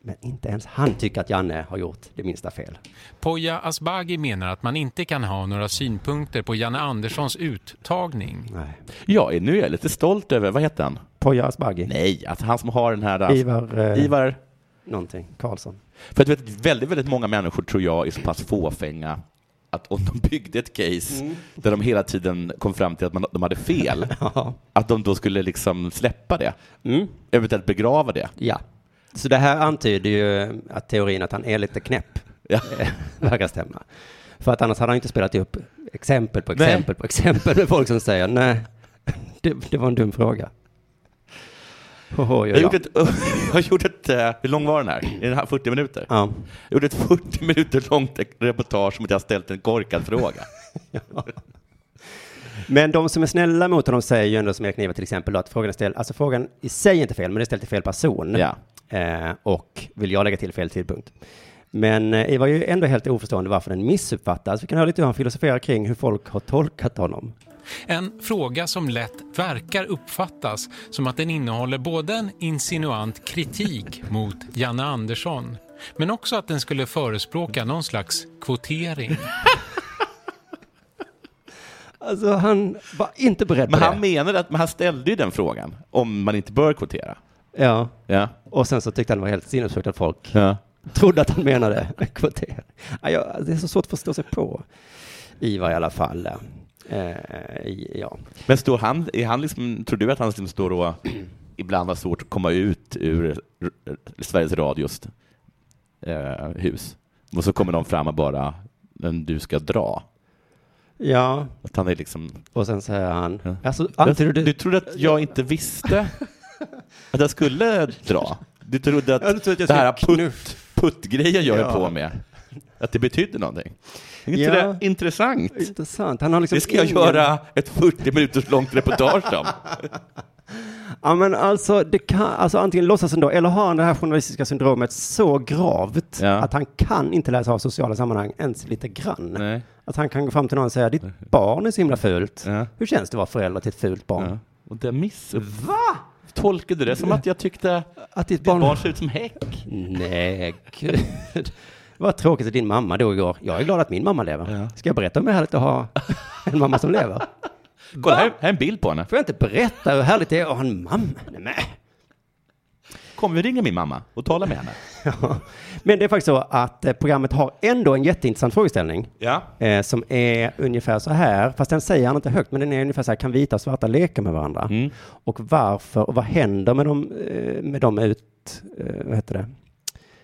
Men inte ens han tycker att Janne har gjort det minsta fel.
Poya Asbaghi menar att man inte kan ha några synpunkter på Janne Anderssons uttagning.
Nej.
Ja, nu är jag lite stolt över, vad heter han?
Poya Asbaghi.
Nej, alltså han som har den här...
Ivar, eh,
Ivar.
någonting. Karlsson.
För att du vet, väldigt, väldigt många människor tror jag är så pass fåfänga att om de byggde ett case där de hela tiden kom fram till att man, de hade fel, att de då skulle liksom släppa det.
Mm.
Eventuellt begrava det.
Ja. Så det här antyder ju att teorin att han är lite knäpp
Ja.
eh, verkar stämma. För att annars hade han inte spelat upp exempel på exempel på exempel med folk som säger nej, det, det var en dum fråga. Hoho,
Jag,
ja.
gjorde ett, jag har gjort ett, eh, hur lång var den här? Är den här 40 minuter?
Ja.
Jag gjorde ett 40 minuter långt reportage om att jag ställt en korkad fråga.
Men de som är snälla mot honom säger ju ändå som Erik Niva till exempel då, att frågan är ställd, alltså frågan i sig är inte fel, men det är ställd till fel person.
Ja.
Eh, och vill jag lägga till fel tidpunkt. Men eh, Ivar är ju ändå helt oförstående varför den missuppfattas. Vi kan höra lite hur han filosoferar kring hur folk har tolkat honom.
En fråga som lätt verkar uppfattas som att den innehåller både en insinuant kritik mot Janne Andersson men också att den skulle förespråka någon slags kvotering.
Alltså han var inte beredd
Men
på
han
det.
menade att men han ställde ju den frågan, om man inte bör kvotera.
Ja.
Ja.
Och sen så tyckte han det var helt sinnessjukt att folk
ja.
trodde att han menade kvarter. Ja, jag- alltså, det är så svårt att förstå sig på Ivar i alla fall. Eh, ja.
Men står han, är han liksom, tror du att han liksom står och ibland har svårt att komma ut ur r- r- Sveriges Radios eh, hus? Och så kommer de fram och bara, men du ska dra.
ja,
Att han är liksom,
och sen säger han,
Ja.
alltså, antyder
du
du,
trodde att jag inte visste att jag skulle dra? Du trodde att,
Ja, du trodde att jag
det här
skulle
putt, puttgrejen jag
Ja.
är på med, att det betydde någonting? Är inte
Ja.
det intressant?
intressant, han har liksom
Det ska jag
ingen-
göra ett 40 minuters långt reportage om.
Ja, men alltså, det kan, alltså antingen låtsas ändå, eller har han det här journalistiska syndromet så gravt
Ja.
att han kan inte läsa av sociala sammanhang ens lite grann.
Nej.
Att han kan gå fram till någon och säga, ditt barn är så himla fult.
Ja.
Hur känns det att vara förälder till ett fult barn?
Ja. Och det missupp... Tolkade du det som att jag tyckte
Att ditt
barn,
barn...
barn ser ut som häck?
Nej, gud. Vad tråkigt att din mamma dog igår. Jag är glad att min mamma lever. Ska jag berätta om hur härligt att ha en mamma som lever?
Kolla, här, här är en bild på henne.
Får jag inte berätta hur härligt det är att ha en mamma? Nej, men.
Kommer vi ringa min mamma och tala med henne?
Ja. Men det är faktiskt så att eh, programmet har ändå en jätteintressant frågeställning.
Ja.
eh, som är ungefär så här, fast den säger han inte högt, men den är ungefär så här, kan vita och svarta leka med varandra? Och varför, och vad händer med dem, eh, med dem ut, eh, vad heter det,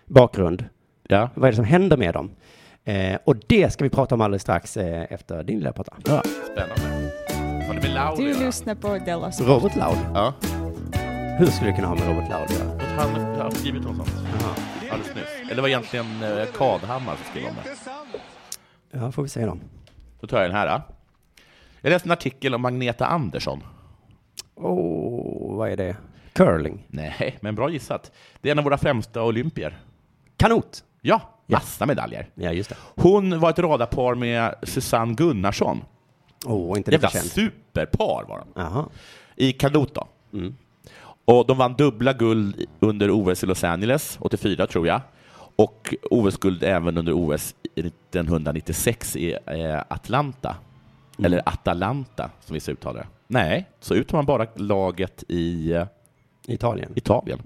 bakgrund?
Ja.
Vad är det som händer med dem? Eh, och det ska vi prata om alldeles strax eh, efter din lilla prata.
Spännande. Har ni med
Du
Lauri
lyssnar på Della Sport.
Robert Laul.
Ja.
Hur skulle du kunna ha med Robert Laul att göra?
Han har skrivit om sånt alldeles nyss. Eller det var egentligen eh, Kadhammar som skrev om det.
Ja, får vi se då.
Då tar jag den här. Då. Jag läste en artikel om Magneta Andersson.
Åh, vad är det? Curling.
Nej, men bra gissat. Det är en av våra främsta olympier.
Kanot.
Ja, massa medaljer.
Ja, just det.
Hon var ett radarpar med Susanne Gunnarsson.
Åh, inte lika
Jävla
känd.
superpar var de. Mm.
Jaha.
I kanot då. Och de vann dubbla guld under OS i Los Angeles, 84 tror jag. Och OS-guld även under OS 1996 i eh, Atlanta. Eller Atalanta, som vissa uttalar det. Mm. Nej, så uttalar man bara laget i eh,
Italien.
Italien.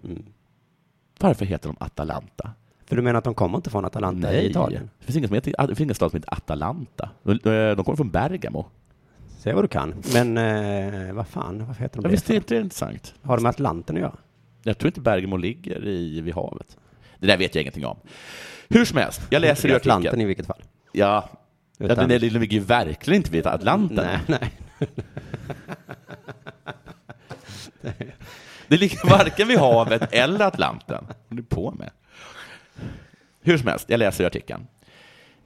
Varför heter de Atalanta?
För du menar att de kommer inte från Atalanta i Italien?
Det finns ingen, som heter, det finns ingen stad som heter Atalanta. De, eh, de kommer från Bergamo.
Säg vad du kan. Men eh, vad fan, varför heter
Ja,
de det?
visst är inte det intressant?
Har de med Atlanten att göra?
Jag tror inte Bergamo ligger i, vid havet. Det där vet jag ingenting om. Hur som helst, jag läser
I
ju
Atlanten i
artikeln.
vilket fall.
Ja, ja
Utan-
den det ligger ju verkligen inte vid Atlanten.
Nej, nej.
Det ligger varken vid havet eller Atlanten. Vad håller du på med? Hur som helst, jag läser ju artikeln.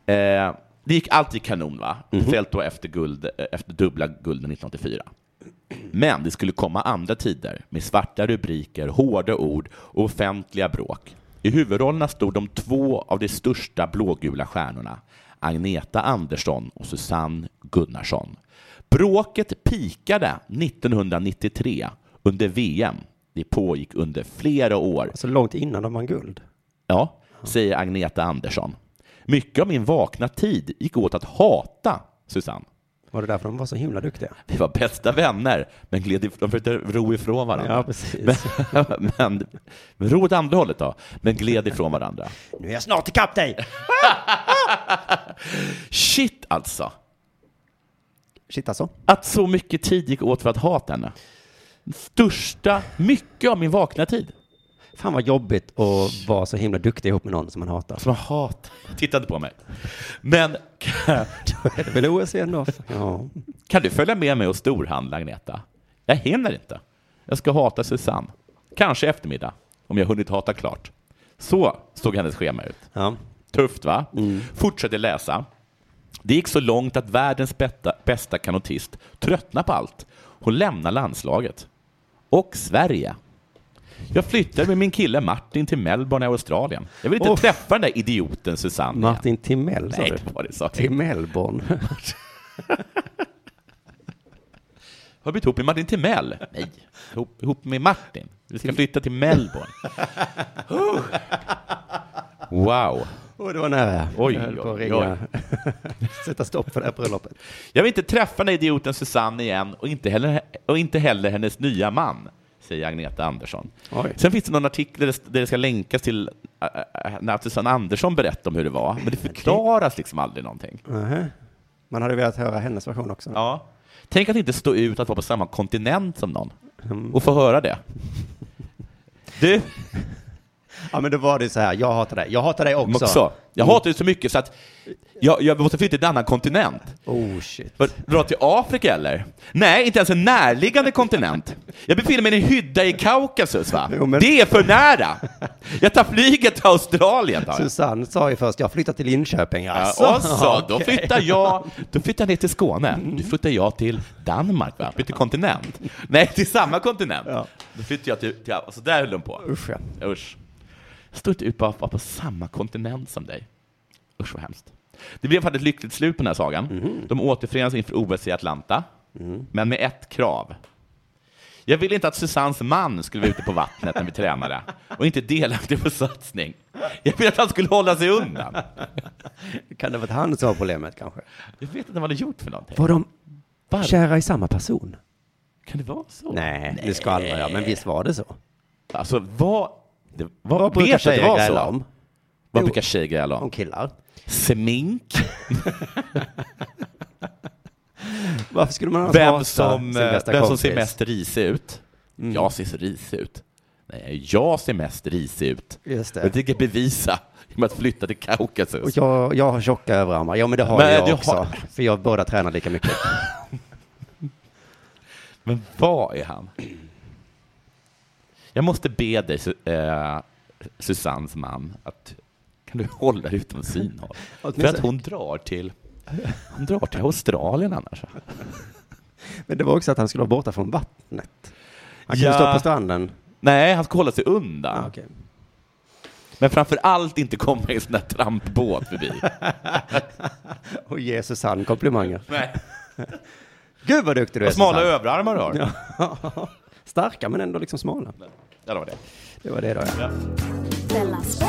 Eh, det gick alltid kanon, va? Speciellt då efter, guld, eh, efter dubbla gulden 1984. Men det skulle komma andra tider med svarta rubriker, hårda ord och offentliga bråk. I huvudrollerna stod de två av de största blågula stjärnorna, Agneta Andersson och Susanne Gunnarsson. Bråket pikade 1993 under VM. Det pågick under flera år.
Så Alltså, långt innan de vann guld.
Ja, säger Agneta Andersson. Mycket av min vakna tid gick åt att hata Susanne.
Var det därför de var så himla duktiga?
Vi var bästa vänner, men gled if- de försökte ro ifrån varandra.
precis.
Men, men, men ro åt andra hållet då, men gled ifrån varandra.
Nu är jag snart ikapp dig!
Shit alltså,
Shit alltså.
att så mycket tid gick åt för att hata henne. Största, mycket av min vakna tid.
Fan vad jobbigt att vara så himla duktig ihop med någon som man hatar.
Som jag hatar. Tittade på mig. Men kan,
Är det väl
E
OS igen då? Ja.
kan du följa med mig och storhandla, Agneta? Jag hinner inte. Jag ska hata Susanne. Kanske i eftermiddag, om jag hunnit hata klart. Så såg hennes schema ut.
ja.
Tufft va? Fortsätter läsa. Det gick så långt att världens bästa, bästa kanotist tröttnade på allt. Hon lämnar landslaget. Och Sverige. Jag flyttade med min kille Martin till Melbourne i Australien. Jag vill inte
Uff.
träffa den där idioten Susanne. igen.
Martin Timell sa
Nej,
du?
det var det så.
Till Melbourne.
Har du blivit ihop med Martin Timell? Nej, ihop, ihop med Martin. Vi ska flytta till Melbourne. Oh. wow.
Och det var nära.
Oj,
Jag höll på att
oj,
ringa. Sätta stopp för det här bröllopet.
Jag vill inte träffa den här idioten Susanne igen och inte heller, och inte heller hennes nya man, säger Agneta Andersson.
Oj.
Sen finns det någon artikel där det- där det ska länkas till äh, äh, när Susanne Andersson berättar om hur det var, men det förklaras liksom aldrig någonting.
Nähä. Man hade velat höra hennes version också.
Ja. Tänk att inte stå ut att vara på samma kontinent som någon och få höra det. Du,
Ja, men då var det så här. Jag hatar dig. Jag hatar dig också. Mm.
också. Jag hatar dig så mycket så att jag, jag måste flytta till en annan kontinent.
Oh shit.
Vad, Dra till Afrika eller? Nej, inte ens en närliggande kontinent. Jag befinner mig i en hydda i Kaukasus va?
Jo, men-
Det är för nära! Jag tar flyget till Australien. Tar jag.
Susanne sa ju först, jag flyttar till Linköping. Alltså.
Ja, och så, då flyttar jag då flyttar jag ner till Skåne.
Mm.
Nu flyttar jag till Danmark, va? Byter kontinent. Nej, till samma kontinent.
Ja.
Då flyttar jag till... till och så där höll de på.
Usch, ja.
Usch. Jag står inte ut på att vara på samma kontinent som dig. Usch, vad hemskt. Det blev faktiskt ett lyckligt slut på den här sagan.
Mhm.
De återförenas inför OS i Atlanta, men med ett krav. Jag ville inte att Susannes man skulle vara ute på vattnet när vi tränade och inte delaktig på satsning. Jag ville att han skulle hålla sig undan.
Kan det varit han som var problemet kanske?
Jag vet inte vad han hade gjort för någonting.
Var de
Varför?
kära i samma person?
Kan det vara så?
Nej, nu skvallrar jag, men visst var det så?
Alltså, vad... Det, vad
Vad brukar
vet jag att det
tjejer
var
gräla
så?
om?
Vad
Jo.
brukar tjejer gräla om?
Om killar.
Smink?
Varför skulle man annars hata
Vem som,
sin
eh,
bästa
vem som
kompis?
ser
Mm.
mest risig ut? Jag ser så risig ut. Nej, jag ser mest risig ut.
Just det.
Jag tänker bevisa genom att flytta till Kaukasus.
Och jag, jag har tjocka överarmar. Ja, men det har
Men
jag
du
också.
har-
För jag båda tränar lika mycket.
Men vad är han? Jag måste be dig, Su- eh, Susannes man, att kan du hålla dig utom synhåll? För att hon drar till, hon drar till Australien annars.
Men det var också att han skulle vara borta från vattnet. Han kunde
Ja.
stå på stranden.
Nej, han ska hålla sig undan.
Ah, okej.
Men framför allt inte komma i en sån där trampbåt förbi.
Och ge Susanne komplimanger.
Nej.
Gud vad duktig du är
Och smala
Susanne.
överarmar du har. Ja.
Ja. Starka men ändå liksom smala.
det var det.
Det var det då. Ja.
Della Sport.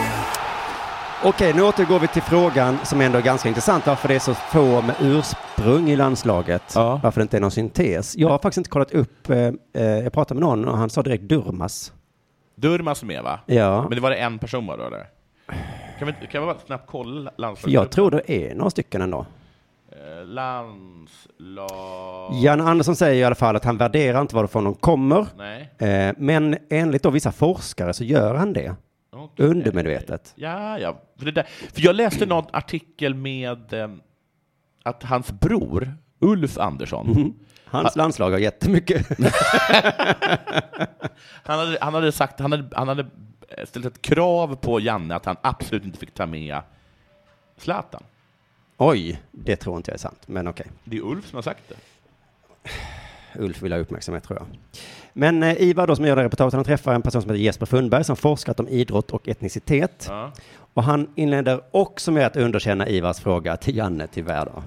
Okej, nu återgår vi till frågan som ändå är ganska intressant. Varför det är så få med ursprung i landslaget.
Ja.
Varför det inte är någon syntes. Jag har faktiskt inte kollat upp. Eh, eh, jag pratade med någon och han sa direkt Durmas.
Durmaz är med va?
Ja.
Men det var det en person var då eller? Kan vi, kan vi bara snabbt kolla
För
landslaget?
jag tror det är några stycken ändå.
Eh, Landslag...
Jan Andersson säger i alla fall att han värderar inte varifrån de kommer.
Nej.
Eh, men enligt då vissa forskare så gör han det.
Okej.
Undermedvetet.
Ja, ja. För, det där. för jag läste någon artikel med eh, att hans bror, Ulf Andersson,
Hans landslag har jättemycket.
han, hade, han hade sagt, han hade, han hade eh, ställt ett krav på Janne att han absolut inte fick ta med Zlatan.
Oj, det tror inte jag är sant. Men okej,
Det är Ulf som har sagt det.
Ulf vill ha uppmärksamhet tror jag. Men eh, Ivar då som gör det här reportaget, han träffar en person som heter Jesper Fundberg som forskat om idrott och etnicitet. Och han inleder också med att underkänna Ivars fråga till Janne tyvärr då.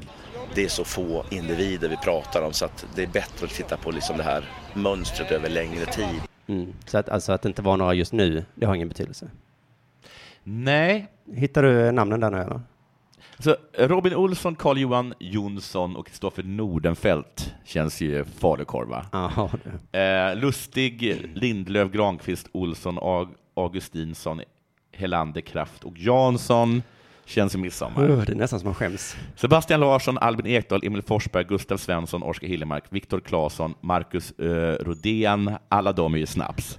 det är så få individer vi pratar om så att det är bättre att titta på liksom det här mönstret över längre tid.
Mm. Så att, alltså att det inte var några just nu, det har ingen betydelse.
Nej.
Hittar du eh, namnen där nu eller?
Så Robin Olsson, Carl-Johan Jonsson och Kristoffer Nordenfelt känns ju falukorv, va?
Jaha, du.
Eh, Lustig, Lindlöf, Granqvist, Olsson, Ag- Augustinsson, Helander, Kraft och Jansson känns ju midsommar.
Öh, det är nästan som man skäms.
Sebastian Larsson, Albin Ekdal, Emil Forsberg, Gustav Svensson, Oskar Hillemark, Viktor Claesson, Marcus eh, Rodén. Alla de är ju snaps.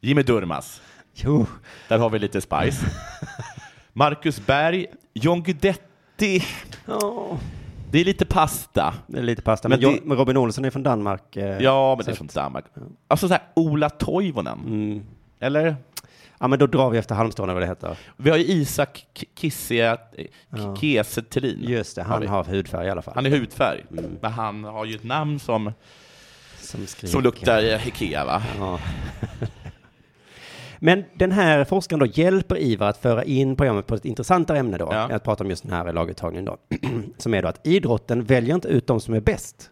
Jimmy Durmaz.
Jo,
Där har vi lite spice. Marcus Berg, John Guidetti. Det är lite pasta.
det är lite pasta. Men,
Men
Jo-
det-
men Robin Olsson är från Danmark. eh,
Ja, men
så
det är
att- Mm.
från Danmark. Alltså så här Ola Toivonen. Eller?
Ja, men då drar vi efter Halmstad eller vad det heter.
Vi har ju Isak K- Kissia, K- Kiese Thelin.
Just Mm. det,
Har
han
vi.
har hudfärg i alla fall.
Han är hudfärg, men han har ju ett namn som,
som,
som luktar eh, Ikea, va?
Men den här forskaren då hjälper Ivar att föra in programmet på ett intressantare ämne då,
Ja.
att prata om just den här laguttagningen då, som är då att idrotten väljer inte ut de som är bäst.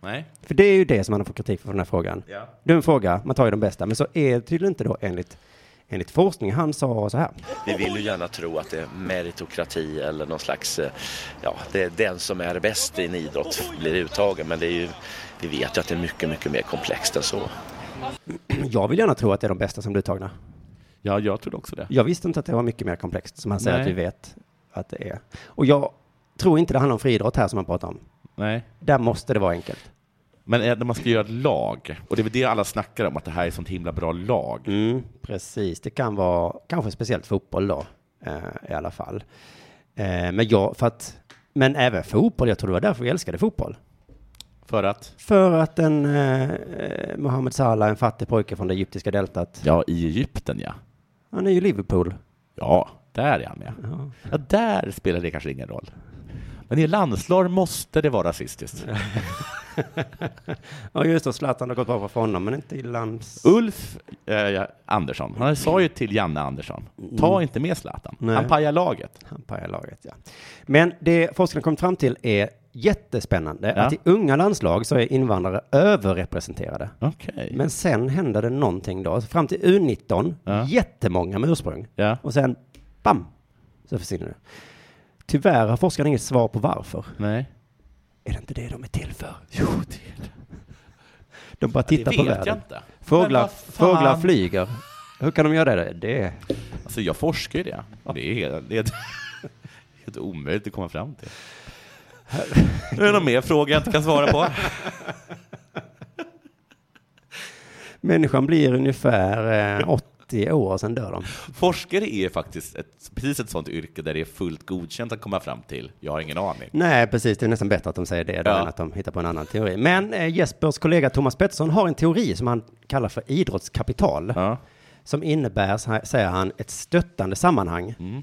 Nej.
För det är ju det som man får kritik för från den här frågan.
Ja.
Dum fråga, man tar ju de bästa, men så är det tydligen inte då enligt, enligt forskning. Han sa så här.
Vi vill ju gärna tro att det är meritokrati eller någon slags, eh, ja, det är den som är bäst i en idrott blir uttagen. Men det är ju, vi vet ju att det är mycket, mycket mer komplext än så.
Jag vill gärna tro att det är de bästa som blir uttagna.
ja, jag trodde också det.
Jag visste inte att det var mycket mer komplext, som han säger
Nej.
att vi vet att det är. Och jag tror inte det handlar om friidrott här som han pratar om.
Nej.
Där måste det vara enkelt.
Men eh, när man ska göra ett lag, och det är väl det alla snackar om, att det här är ett sånt himla bra lag.
Mm, precis, det kan vara kanske speciellt fotboll då, eh, i alla fall. Eh, men, jag, för att, men även fotboll, jag tror det var därför vi älskade fotboll.
För att?
För att en eh, eh, Mohamed Salah, en fattig pojke från det egyptiska deltat,
Ja, i Egypten, ja.
han är ju Liverpool.
Ja, där är han med. Ja. där spelar det kanske ingen roll. Men i landslag måste det vara rasistiskt.
Ja just det, Zlatan har gått bra för honom, men inte i lands...
Ulf eh, Andersson, han sa ju till Janne Andersson, ta inte med Zlatan,
Nej.
han pajar laget.
Han pajar laget, ja. Men det forskarna kommit fram till är jättespännande,
Ja.
att i unga landslag så är invandrare överrepresenterade.
Okej.
Men sen hände det någonting då. Så Fram till U19, jättemånga med ursprung.
Ja.
Och sen, bam, så försvinner det. Tyvärr har forskarna inget svar på varför.
Nej.
Är det inte det de är till för? Jo, det är det. De bara tittar
det
på
vet jag
världen.
inte. Men
Fåglar,
vad fan.
fåglar flyger. Hur kan de göra det? Det
Alltså jag forskar ju det. Det är helt, det är helt omöjligt att komma fram till. Nu är det någon mer fråga jag inte kan svara på.
Människan blir ungefär eh, 80 år och sen dör de.
Forskare är faktiskt ett, precis ett sånt yrke där det är fullt godkänt att komma fram till, jag har ingen aning.
Nej, precis. Det är nästan bättre att de säger det då
Ja.
än att de hittar på en annan teori. Men eh, Jespers kollega Thomas Pettersson har en teori som han kallar för idrottskapital.
Ja.
som innebär, så här- säger han, ett stöttande sammanhang.
Mm.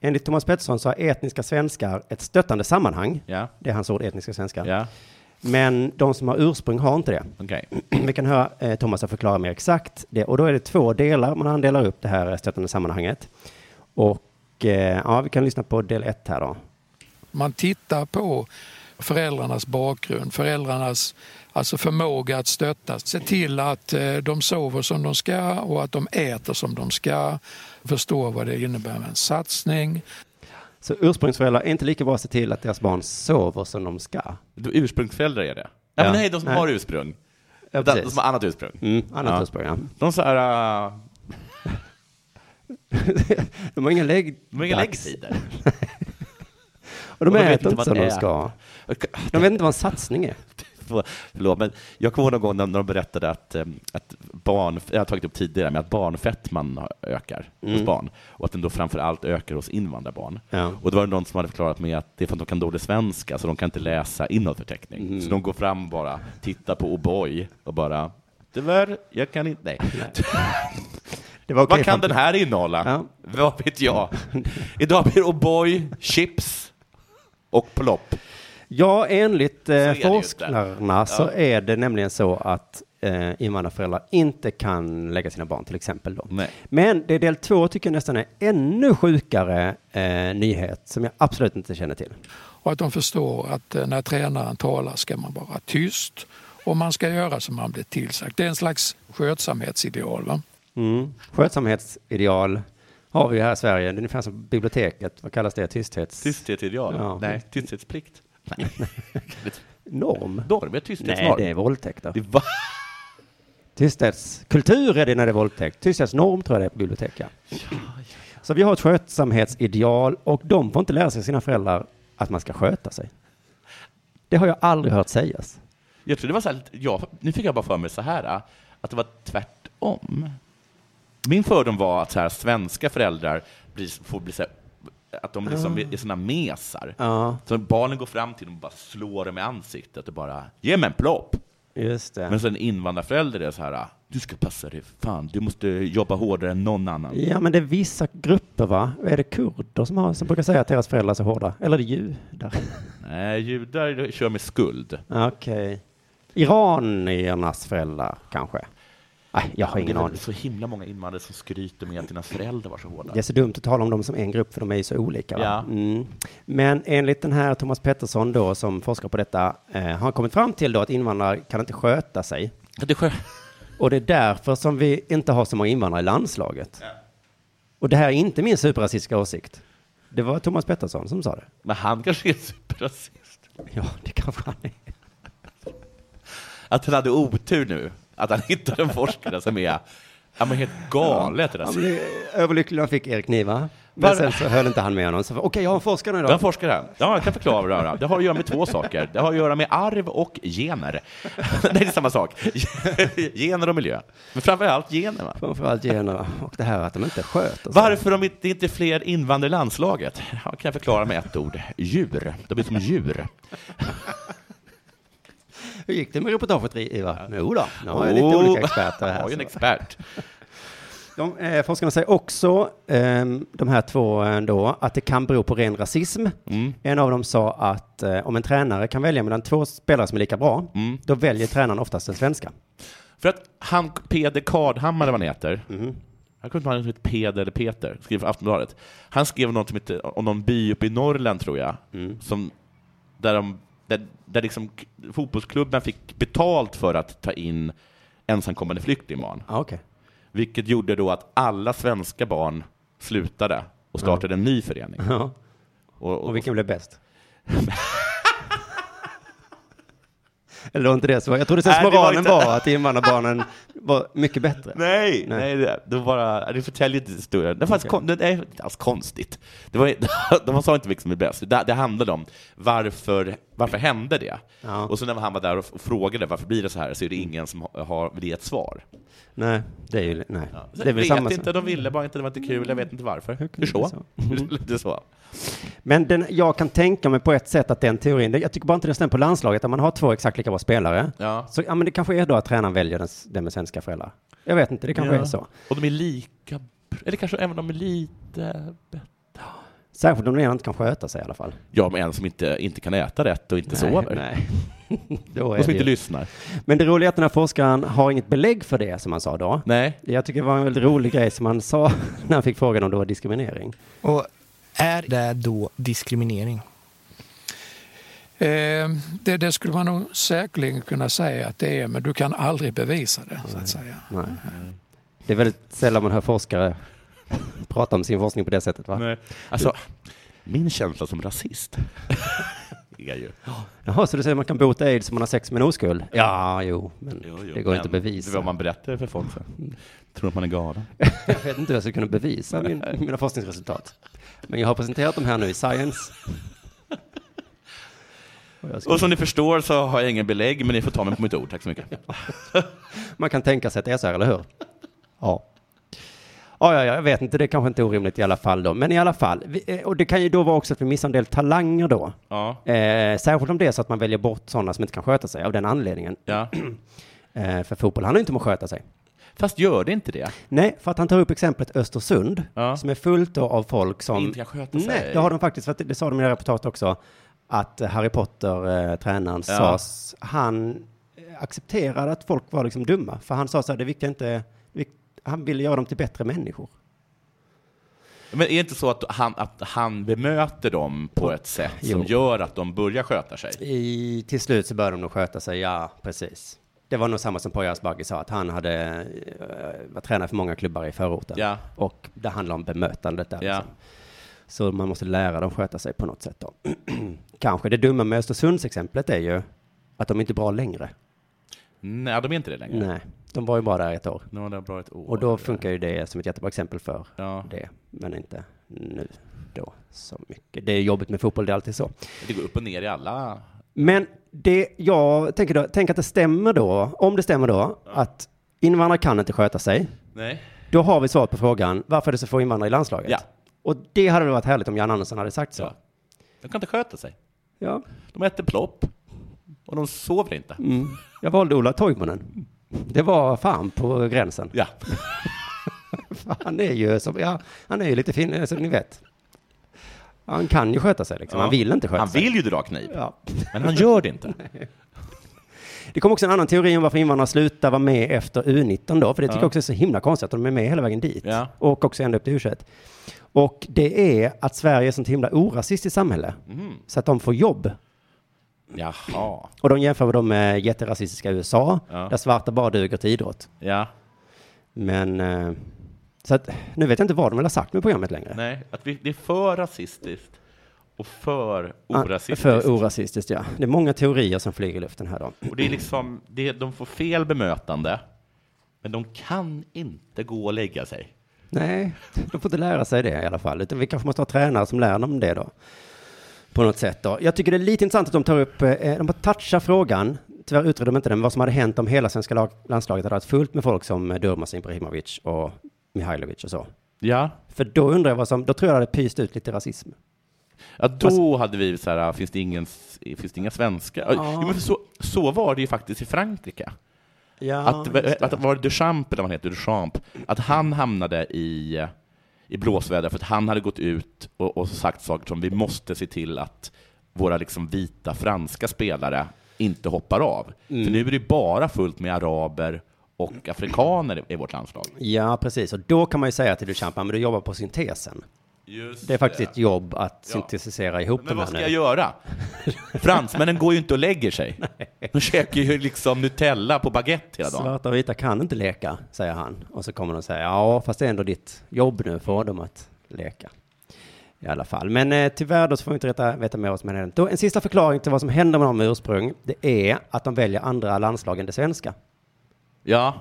Enligt Thomas Pettersson så har etniska svenskar ett stöttande sammanhang.
Ja.
Det är hans ord, etniska svenskar.
Ja.
Men de som har ursprung har inte det.
Okej.
Vi kan höra eh, Thomas förklara mer exakt det. Och då är det två delar, men han delar upp det här stötande sammanhanget. Och eh, ja, vi kan lyssna på del ett här då.
Man tittar på föräldrarnas bakgrund, föräldrarnas alltså förmåga att stötta. Se till att eh, de sover som de ska och att de äter som de ska. Förstå vad det innebär med en satsning.
Så ursprungsföräldrar är inte lika bra att se till att deras barn sover som de ska.
Då Ursprungsföräldrar är det. Ja,
Ja.
men nej, de som
Nej.
har ursprung. De,
Ja,
de
precis.
som har annat ursprung.
Mm, annat
Ja.
ursprung, ja.
De så här... äh,
De har inga lägg...
de har inga
dags.
läggtider. Och
Och de
de vet
äter
inte
inte
vad
som
det
de
är.
ska. De vet inte vad en satsning är.
För- Förlåt, men jag kommer ihåg någon gång när när de berättade att, eh, att barn, jag har tagit upp tidigare, men att barnfettman har- ökar hos barn och att den då framför allt ökar hos invandrarbarn.
Mm. Ja.
Och det var någon som hade förklarat med att det är för att de kan dålig svenska, så de kan inte läsa innehållsförteckning.
Mm.
Så de går fram och bara, tittar på O'boy och bara, tyvärr, jag kan inte, nej.
Det var okej
Vad
fram
kan
till-
den här innehålla?
Ja.
Vad vet jag? Idag blir det O'boy, chips och plopp.
Ja, enligt eh,
det ju
forskarna så är det nämligen så att eh, invandrarföräldrar inte kan lägga sina barn till exempel. Då.
Nej.
Men det del två tycker jag nästan är ännu sjukare eh, nyhet som jag absolut inte känner till.
Och att de förstår att eh, när tränaren talar ska man vara tyst och man ska göra som man blir tillsagd. Det är en slags skötsamhetsideal. Va?
Mm. Skötsamhetsideal har vi ju här i Sverige, det är ungefär som biblioteket, vad kallas det, tysthets...
Tysthetsideal?
Ja.
Nej, tysthetsplikt. Nej.
Norm?
Norm, ja,
Nej,
tysthetsnorm.
det är våldtäkt. Då.
Det var...
Tysthetskultur är det när det är våldtäkt. Tysthetsnorm tror jag det är på bibliotek. Ja. Så vi har ett skötsamhetsideal och de får inte lära sig sina föräldrar att man ska sköta sig. Det har jag aldrig hört sägas.
Jag tror det var så här, lite- ja, nu fick jag bara för mig så här, ah, att det var tvärtom. Min fördom var att så här, svenska föräldrar blir, får bli så här, att de
Ah.
liksom är såna mesar.
Ja,
Så barnen går fram till dem och bara slår dem i ansiktet och bara ”ge mig en plopp”.
just det.
Men sen invandrarförälder är så här ah, ”du ska passa dig, fan, du måste jobba hårdare än någon annan”.
Ja, men det är vissa grupper, va? Är det kurder som, har, som brukar säga att deras föräldrar är så hårda? Eller är det judar?
Nej, judar kör med skuld.
Okej. Iraniernas föräldrar, kanske? Nej, jag har ingen
det är
aning.
väl så himla många invandrare som skryter med att dina föräldrar var så hårda.
Det är så dumt att tala om dem som en grupp, för de är ju så olika. Va?
Ja.
Mm. Men enligt den här Thomas Pettersson då, som forskar på detta, eh, har han kommit fram till då att invandrare kan inte sköta sig.
Det är skö-
Och det är därför som vi inte har så många invandrare i landslaget. Och det här är inte min superrasistiska åsikt. Det var Thomas Pettersson som sa det.
Men han kanske är superrasist.
Ja, det kanske han är.
Att han hade otur nu, att han hittade en forskare som är ja, men helt galet alltså.
Han
rasist.
blev överlycklig när han fick Erik Niva. Men
Var-
sen så höll inte han med honom. Så, Okej, jag har en forskare idag.
Den forskare, här. ja, jag kan förklara vad det har. Det har att göra med två saker. Det har att göra med arv och gener. Nej, det är samma sak. Gener och miljö. Men framför allt gener. Va?
Framförallt generna och det här att de inte sköter sig.
Varför de inte, inte är fler invandrare i landslaget? Ja, kan jag förklara med ett ord. Djur. De är som djur.
Hur gick det med reportaget, Ivar? Jo då, nu har jag
Oh.
lite olika experter
Jag
här.
har ju en
så.
expert.
De, eh, forskarna säger också, ehm, de här två eh, då, att det kan bero på ren rasism. En av dem sa att eh, om en tränare kan välja mellan två spelare som är lika bra, då väljer tränaren oftast den svenska.
För att han, Peder Kardhammar, eller vad han heter, jag kommer inte ihåg om han heter Peder eller Peter, skrev för Aftonbladet. Han skrev något som heter, om någon by uppe i Norrland, tror jag, som, där, de, där, där liksom k- fotbollsklubben fick betalt för att ta in ensamkommande flyktingbarn.
Ah, okay.
Vilket gjorde då att alla svenska barn slutade och startade en ny förening.
Ja.
Och, och,
Och vilken blev bäst? Eller var inte det så? Jag trodde
Nej, det var
sensmoralen
inte-
var, att invandrarbarnen var mycket bättre.
Nej,
Nej.
nej, det, det, var bara, det förtäljer inte historien. Det var faktiskt kon, det är inte alls konstigt. Det var, de sa inte vilket som är bäst. Det, det handlade om varför, varför hände det?
Ja.
Och så när han var där och f- frågade varför blir det så här så är det ingen som har, har vill ge ett svar.
Nej, det är ju... Nej.
Så
Det är väl
vet
samma
inte, de ville bara inte, det var inte kul, jag vet inte varför. Det är så.
Mm.
Det är så.
Men den, jag kan tänka mig på ett sätt att den teorin, jag tycker bara inte den stämmer på landslaget, där man har två exakt lika bra spelare.
Ja.
Så ja, men det kanske är då att tränaren väljer den, s- den med svenska föräldrar. Jag vet inte, det kanske
Ja.
är så.
Och de är lika, br- eller kanske även de är lite bättre.
Särskilt om den ena inte kan sköta sig i alla fall.
Ja, men en som inte, inte kan äta rätt och inte
Nej,
sover.
Nej. Då
Och
är
som
det
inte
ju.
lyssnar.
Men det roliga är att den här forskaren har inget belägg för det som han sa då.
Nej.
Jag tycker det var en väldigt rolig grej som han sa när han fick frågan om det var diskriminering.
Och är det då diskriminering?
Eh, det, det skulle man nog säkerligen kunna säga att det är, men du kan aldrig bevisa det. Så att säga.
Nej.
Mm.
Det är väldigt sällan man hör forskare prata om sin forskning på det sättet va?
Nej. Alltså, min känsla som rasist är ju...
Jaha, så du säger man kan bota aids om man har sex med en oskuld? Ja, jo, men det går inte att
Det är
bevisa. Mm.
vad man berättar för folk. Så. Tror att man är galen.
Jag vet inte hur jag skulle kunna bevisa min, mina forskningsresultat. Men jag har presenterat dem här nu i Science. Och jag skulle-
Och som ni förstår så har jag ingen belägg, men ni får ta mig på mitt ord. Tack så mycket.
Man kan tänka sig att det är så här, eller hur? Ja. Ja, ja, ja, jag vet inte, det är kanske inte är orimligt i alla fall då. Men i alla fall, vi, eh, och det kan ju då vara också att vi missar en del talanger då.
Ja.
Eh, särskilt om det är så att man väljer bort sådana som inte kan sköta sig av den anledningen.
Ja.
Eh, för fotboll handlar ju inte om att sköta sig.
Fast gör det inte det?
Nej, för att han tar upp exemplet Östersund,
Ja.
som är fullt då av folk som...
Inte kan sköta sig.
Nej, det har de faktiskt, för att det, det sa de i det här reportaget också, att eh, Harry Potter, eh, tränaren,
Ja.
sas, han eh, accepterade att folk var liksom dumma, för han sa så här, det viktiga inte, det vik- han ville göra dem till bättre människor.
Men är det inte så att han, att han bemöter dem på ett sätt som
Jo.
gör att de börjar sköta sig?
I, till slut så började de nog sköta sig, ja, precis. Det var nog samma som Poya Asbaghi sa, att han hade eh, var tränare för många klubbar i förorten.
Ja.
Och det handlar om bemötandet där.
Ja.
liksom. Så man måste lära dem sköta sig på något sätt då. Kanske det dumma med Östersunds-exemplet är ju att de inte är bra längre.
Nej, de är inte det längre.
Nej, de var ju bara där ett år.
Nu har det bra ett år.
Och då funkar ju det som ett jättebra exempel för
Ja.
det, men inte nu då så mycket. Det är jobbigt med fotboll, det är alltid så.
Det går upp och ner i alla...
Men det jag tänker då, tänk att det stämmer då, om det stämmer då, att invandrare kan inte sköta sig.
Nej.
Då har vi svaret på frågan, varför är det så få invandrare i landslaget?
Ja.
Och det hade väl varit härligt om Jan Andersson hade sagt så.
Ja. De kan inte sköta sig.
Ja.
De äter plopp. Och de sover inte.
Mm. Jag valde Ola Toivonen. Det var fan på gränsen.
Ja.
Han är ju, som, ja, han är ju lite fin, eh, så ni vet. Han kan ju sköta sig liksom.
Ja.
Han vill inte sköta
Han
sig.
vill ju dra kniv,
Ja.
men han gör det inte.
Det kom också en annan teori om varför invandrare slutar vara med efter U19 då, för det tycker jag också är så himla konstigt att de är med hela vägen dit.
Ja.
Och också ända upp till U21. Och det är att Sverige är sånt himla orasistiskt samhälle,
Mhm.
så att de får jobb.
Jaha.
Och de jämför dem med jätterasistiska USA,
Ja.
där svarta bara duger till idrott.
Ja.
Men, eh, så att, nu vet jag inte vad de vill ha sagt med programmet längre.
Nej, att vi, det är för rasistiskt och för
Ah,
orasistiskt.
För orasistiskt, ja. Det är många teorier som flyger i luften här då.
och det är liksom, det, de får fel bemötande, men de kan inte gå och lägga sig.
Nej, de får inte lära sig det i alla fall. Utan vi kanske måste ha tränare som lär dem det då. På något sätt då. Jag tycker det är lite intressant att de tar upp, eh, de touchar frågan, tyvärr utredde de inte den, vad som hade hänt om hela svenska lag, landslaget hade varit fullt med folk som eh, Durmaz Ibrahimovic och Mihailovic och så.
Ja.
För då undrar jag vad som, då tror jag det hade pyst ut lite rasism.
Ja, då hade vi så här, "Ah, finns det, ingen, finns det inga svenskar? Jo, men så, så var det ju faktiskt i Frankrike.
Ja,
att, att, var det Duchamp, eller vad han heter, Duchamp, att han hamnade i, i blåsväder för att han hade gått ut och, och sagt saker som vi måste se till att våra liksom vita franska spelare inte hoppar av. För nu är det ju bara fullt med araber och afrikaner i- i vårt landslag.
ja precis. Och då kan man ju säga till Duchamp, "Ja, men du jobbar på syntesen. Det är faktiskt ditt jobb att syntetisera ihop
Men
de här
vad ska
nu.
jag göra? Fransmännen går ju inte och lägger sig. De käkar ju liksom Nutella på baguette hela dagen.
Svarta och vita kan inte leka, säger han. Och så kommer de säga, ja, fast det är ändå ditt jobb nu
Mm.
för dem att leka. I alla fall. Men eh, tyvärr då så får vi inte veta, veta mer vad som händer. Då, en sista förklaring till vad som händer med dem med ursprung, det är att de väljer andra landslag än det svenska.
Ja.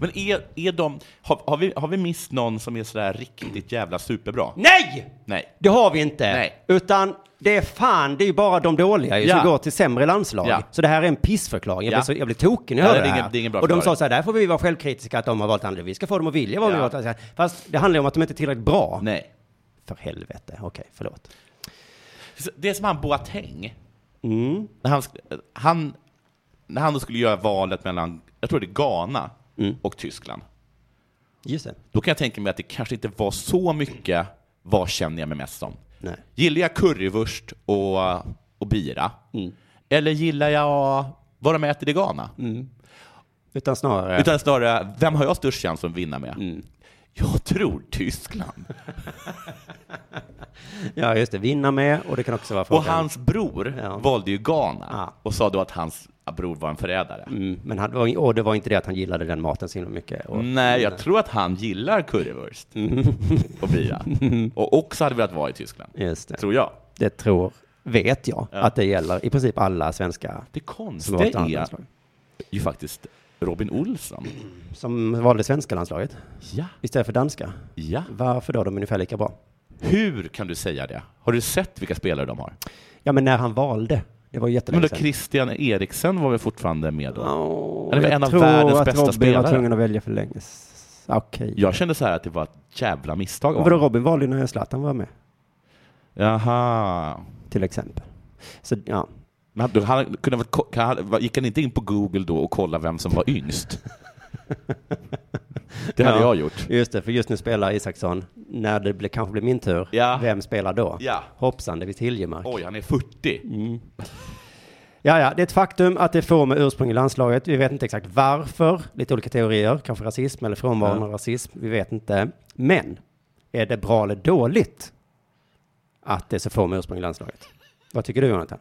Men är, är de... Har, har, vi, har vi missat någon som är sådär riktigt jävla superbra?
Nej!
Nej.
Det har vi inte.
Nej.
Utan det är fan, det är ju bara de dåliga ju,
Ja.
som går till sämre landslag.
Ja.
Så det här är en pissförklaring. Jag,
Ja.
blir, så, jag blir tokig när
Ja,
jag hör
det är
det, här.
ingen- det är ingen bra
och de sa
förklaring.
så här, där får vi vara självkritiska att de har valt andra. Vi ska få dem att vilja vara
Ja.
med. och så här. Fast det handlar ju om att de inte är tillräckligt bra.
Nej.
För helvete, okej, förlåt.
Det är som han Boateng.
Mm.
När, han, sk- han, när han då skulle göra valet mellan, jag tror det är Ghana
Mm.
och Tyskland.
Just det.
Då kan jag tänka mig att det kanske inte var så mycket vad känner jag mig mest som?
Nej.
Gillar jag currywurst och, och bira?
Mm.
Eller gillar jag vad de äter i Ghana?
Utan snarare...
Utan snarare, vem har jag störst chans att vinna med?
Mm.
Jag tror Tyskland.
Ja, just det. Vinna med och det kan också vara
Och
frågan.
hans bror
Ja.
valde ju Ghana
Ja.
och sa då att hans bror var en förrädare.
Mm, men han, var- och det var inte det att han gillade den maten så himla mycket. Och,
Nej, jag tror att han gillar currywurst
Mm.
och bira. Och också hade velat vara i Tyskland,
Just det.
tror jag.
Det tror, vet jag, att det gäller i princip alla
Det
svenska som har varit i
konstiga
andra
är
landslag.
ju faktiskt Robin Olsson.
Som valde svenska landslaget
Ja.
istället för danska.
ja.
Varför då? De är ungefär lika bra.
Hur kan du säga det? Har du sett vilka spelare de har?
Ja, men när han valde. Det var ju
Men
jättelänge
då
sedan.
Christian Eriksen var väl fortfarande med då?
Ja,
Han är väl
jag
en av
tror
världens
att
bästa
Robin var
spelare.
tvungen att välja för länge. s- Okej.
Jag kände så här att det var ett jävla misstag av
Vadå,
honom.
Robin valde ju när Zlatan var med,
Jaha.
till exempel. Så ja,
Men han, då- han kunde väl, ko- kan han- va- gick han inte in på Google då och kollade vem som var yngst? Det hade
Ja.
jag gjort.
just det, för just nu spelar Isaksson. När det blir, kanske blir min tur,
Ja.
vem spelar då?
Ja.
Hoppsan, det visste Hiljemark.
Oj, han är 40.
Ja, ja, det är ett faktum att det är få med ursprung i landslaget. Vi vet inte exakt varför. Lite olika teorier, kanske rasism eller frånvaron av rasism. Vi vet inte. Men, är det bra eller dåligt att det är så få med ursprung i landslaget? Vad tycker du, Jonathan?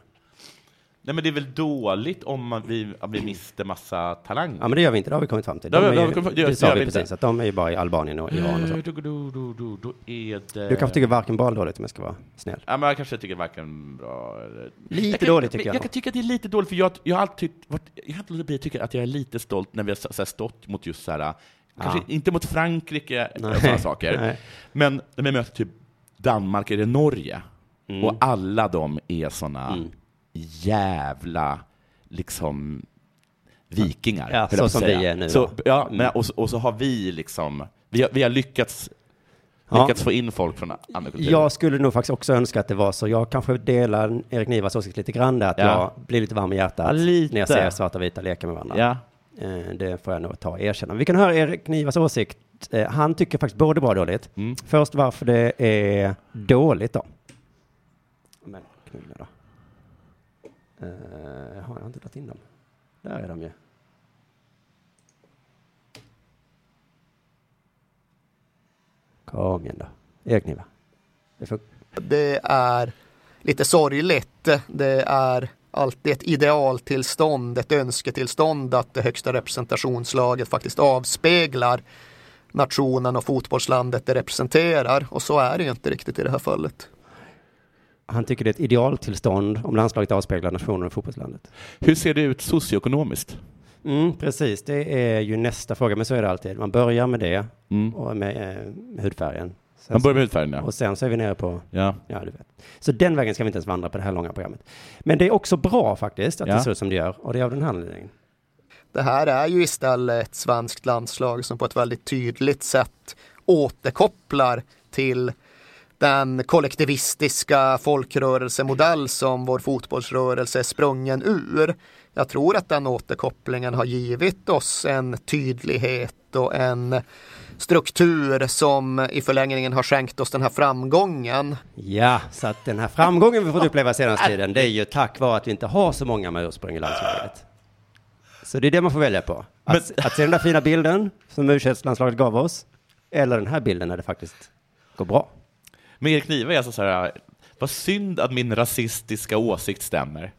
Nej, men det är väl dåligt om man, vi, om vi mister massa talang.
Ja, men det gör vi inte. Det har vi kommit fram till.
Det har vi-
är
det har
ju,
vi kommit fram till.
det
Det
sa
gör
vi
vi inte. Mm.
precis, att de är ju bara i Albanien och Iran och så.
Du, du, du, du, du, då är det...
Du kanske tycker varken bra eller dåligt om jag ska vara snäll.
Ja, men jag kanske tycker varken bra eller...
Lite
kan-
dåligt tycker jag.
Jag kan tycka att det är lite dåligt, för jag, jag har alltid tyckt... varit- Jag har alltid tyckt att jag är lite stolt när vi har så så här stått mot just så här... äh, Kanske inte mot Frankrike
Ah. Nej.
och sådana saker,
Nej.
men när vi möter typ Danmark eller Norge,
Mm.
och alla de är såna jävla, liksom, vikingar.
Ja,
höll jag
så
på att
som
säga.
vi är nu, Mm.
Så,
va?
ja, men, och, så- och så har vi liksom... Vi har, vi har lyckats,
Ja.
lyckats få in folk från andra kulturer.
Jag skulle nog faktiskt också önska att det var så. Jag kanske delar Erik Nivas åsikt lite grann där, att
Ja.
jag blir lite varm i hjärtat
Ja, lite.
när jag ser svarta och vita leka med varandra.
ja.
Eh, Det får jag nog ta och erkänna. Vi kan höra Erik Nivas åsikt. Eh, Han tycker faktiskt både bra och dåligt. Först varför det är dåligt då. Men knulla då. Eh, har jag inte dragit in dem? Där är de ju. Kom igen då. Erik Niva. Det får-
Det är lite sorgligt. Det är alltid ett idealtillstånd, ett önsketillstånd att det högsta representationslaget faktiskt avspeglar nationen och fotbollslandet det representerar. Och så är det ju inte riktigt i det här fallet.
Han tycker det är ett idealtillstånd om landslaget avspeglar nationen och fotbollslandet.
Hur ser det ut socioekonomiskt?
Mm, precis, det är ju nästa fråga, men så är det alltid. Man börjar med det, och med eh, hudfärgen. Sen,
Mm. Man börjar med hudfärgen, ja.
Och sen så är vi nere på,
ja.
ja du vet. Så den vägen ska vi inte ens vandra på det här långa programmet. Men det är också bra faktiskt att
Ja.
det ser ut som det gör, och det är av den här anledningen.
Det här är ju istället ett svenskt landslag som på ett väldigt tydligt sätt återkopplar till den kollektivistiska folkrörelsemodell som vår fotbollsrörelse är sprungen ur. Jag tror att den återkopplingen har givit oss en tydlighet och en struktur som i förlängningen har skänkt oss den här framgången.
Ja, så att den här framgången vi fått uppleva senaste tiden, det är ju tack vare att vi inte har så många med ursprung i landslaget. Så det är det man får välja på. Att, att se den där fina bilden som u landslaget gav oss, eller den här bilden när det faktiskt går bra.
Men Erik Niva är alltså så här, vad synd att min rasistiska åsikt stämmer.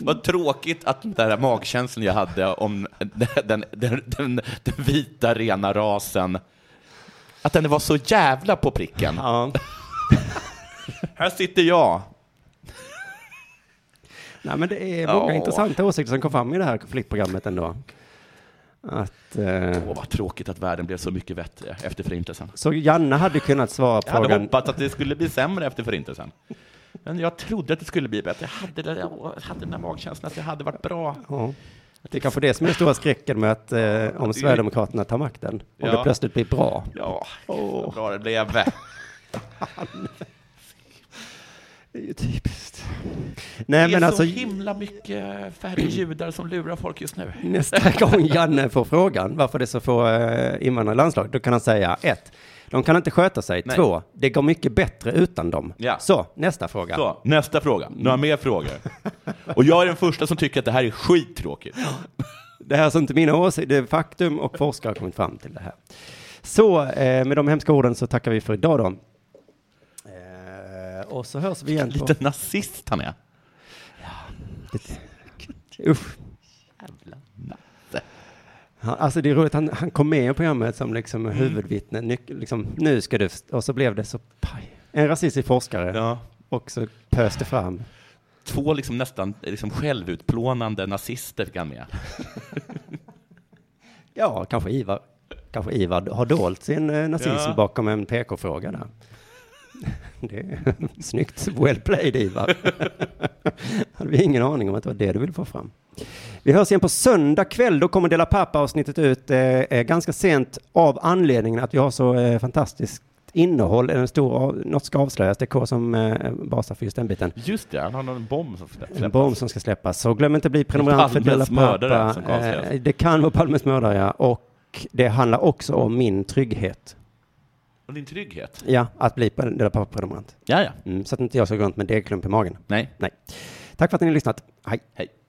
vad tråkigt att den där magkänslan jag hade om den, den, den, den vita rena rasen, att den var så jävla på pricken.
Ja.
Här sitter jag.
Nej, men det är många
Ja.
intressanta åsikter som kom fram i det här konfliktprogrammet ändå. Att, eh,
Åh, vad tråkigt att världen blev så mycket bättre efter Förintelsen.
så Janne hade kunnat svara på
Jag hade
frågan.
hoppats att det skulle bli sämre efter Förintelsen. Men jag trodde att det skulle bli bättre. Jag hade, det där- jag hade den där magkänslan att det hade varit bra.
Ja. Det är kanske det som är den stora skräcken med att eh, om Sverigedemokraterna tar makten, om det
Ja.
plötsligt blir bra.
Ja, vad bra det blev.
Det är ju typiskt. Nej,
det är
men alltså,
så himla mycket färre judar som lurar folk just nu.
nästa gång Janne får frågan varför det är så få eh, invandrare i landslaget, då kan han säga ett, de kan inte sköta sig.
Nej.
Två, det går mycket bättre utan dem.
Ja.
Så, nästa fråga.
Så, nästa fråga. Några mer frågor? Och jag är den första som tycker att det här är skittråkigt.
Det här är alltså inte mina åsikter, det är faktum och forskare har kommit fram till det här. Så eh, med de hemska orden så tackar vi för idag då. Eh, och så hörs vi igen. På...
Lite nazist han är.
Usch. Han, alltså det är roligt, han, han kom med i programmet som liksom
Mm.
huvudvittne. Nyc- liksom, nu ska du... först- Och så blev det så paj. En rasistisk forskare.
Ja.
Och så pös det fram.
Två liksom nästan liksom självutplånande nazister fick han med.
Ja, kanske Ivar, kanske Ivar har dolt sin eh, nazism
Ja.
bakom en PK-fråga där. Det är snyggt. Well played, Ivar. Hade vi ingen aning om att det var det du ville få fram. Vi hörs igen på söndag kväll. Då kommer Dela Pappa-avsnittet ut eh, eh, ganska sent av anledningen att vi har så eh, fantastiskt innehåll. En stor av, något ska avslöjas. Det är K som eh, basar för just den biten.
Just det, han har någon bomb som släpps.
En bomb som ska släppas. Så glöm inte att bli prenumerant för Dela
Palmes mördare
Pappa.
som alltså. kan avslöjas.
Eh, Det kan vara Palmes mördare, ja. Och det handlar också om min trygghet.
Och din trygghet.
Ja, att bli pre- Dela Pappa-prenumerant.
Ja, ja.
Mm, så att inte jag ska gå runt med en degklump i magen.
Nej.
Nej. Tack för att ni har lyssnat. Hej.
Hej.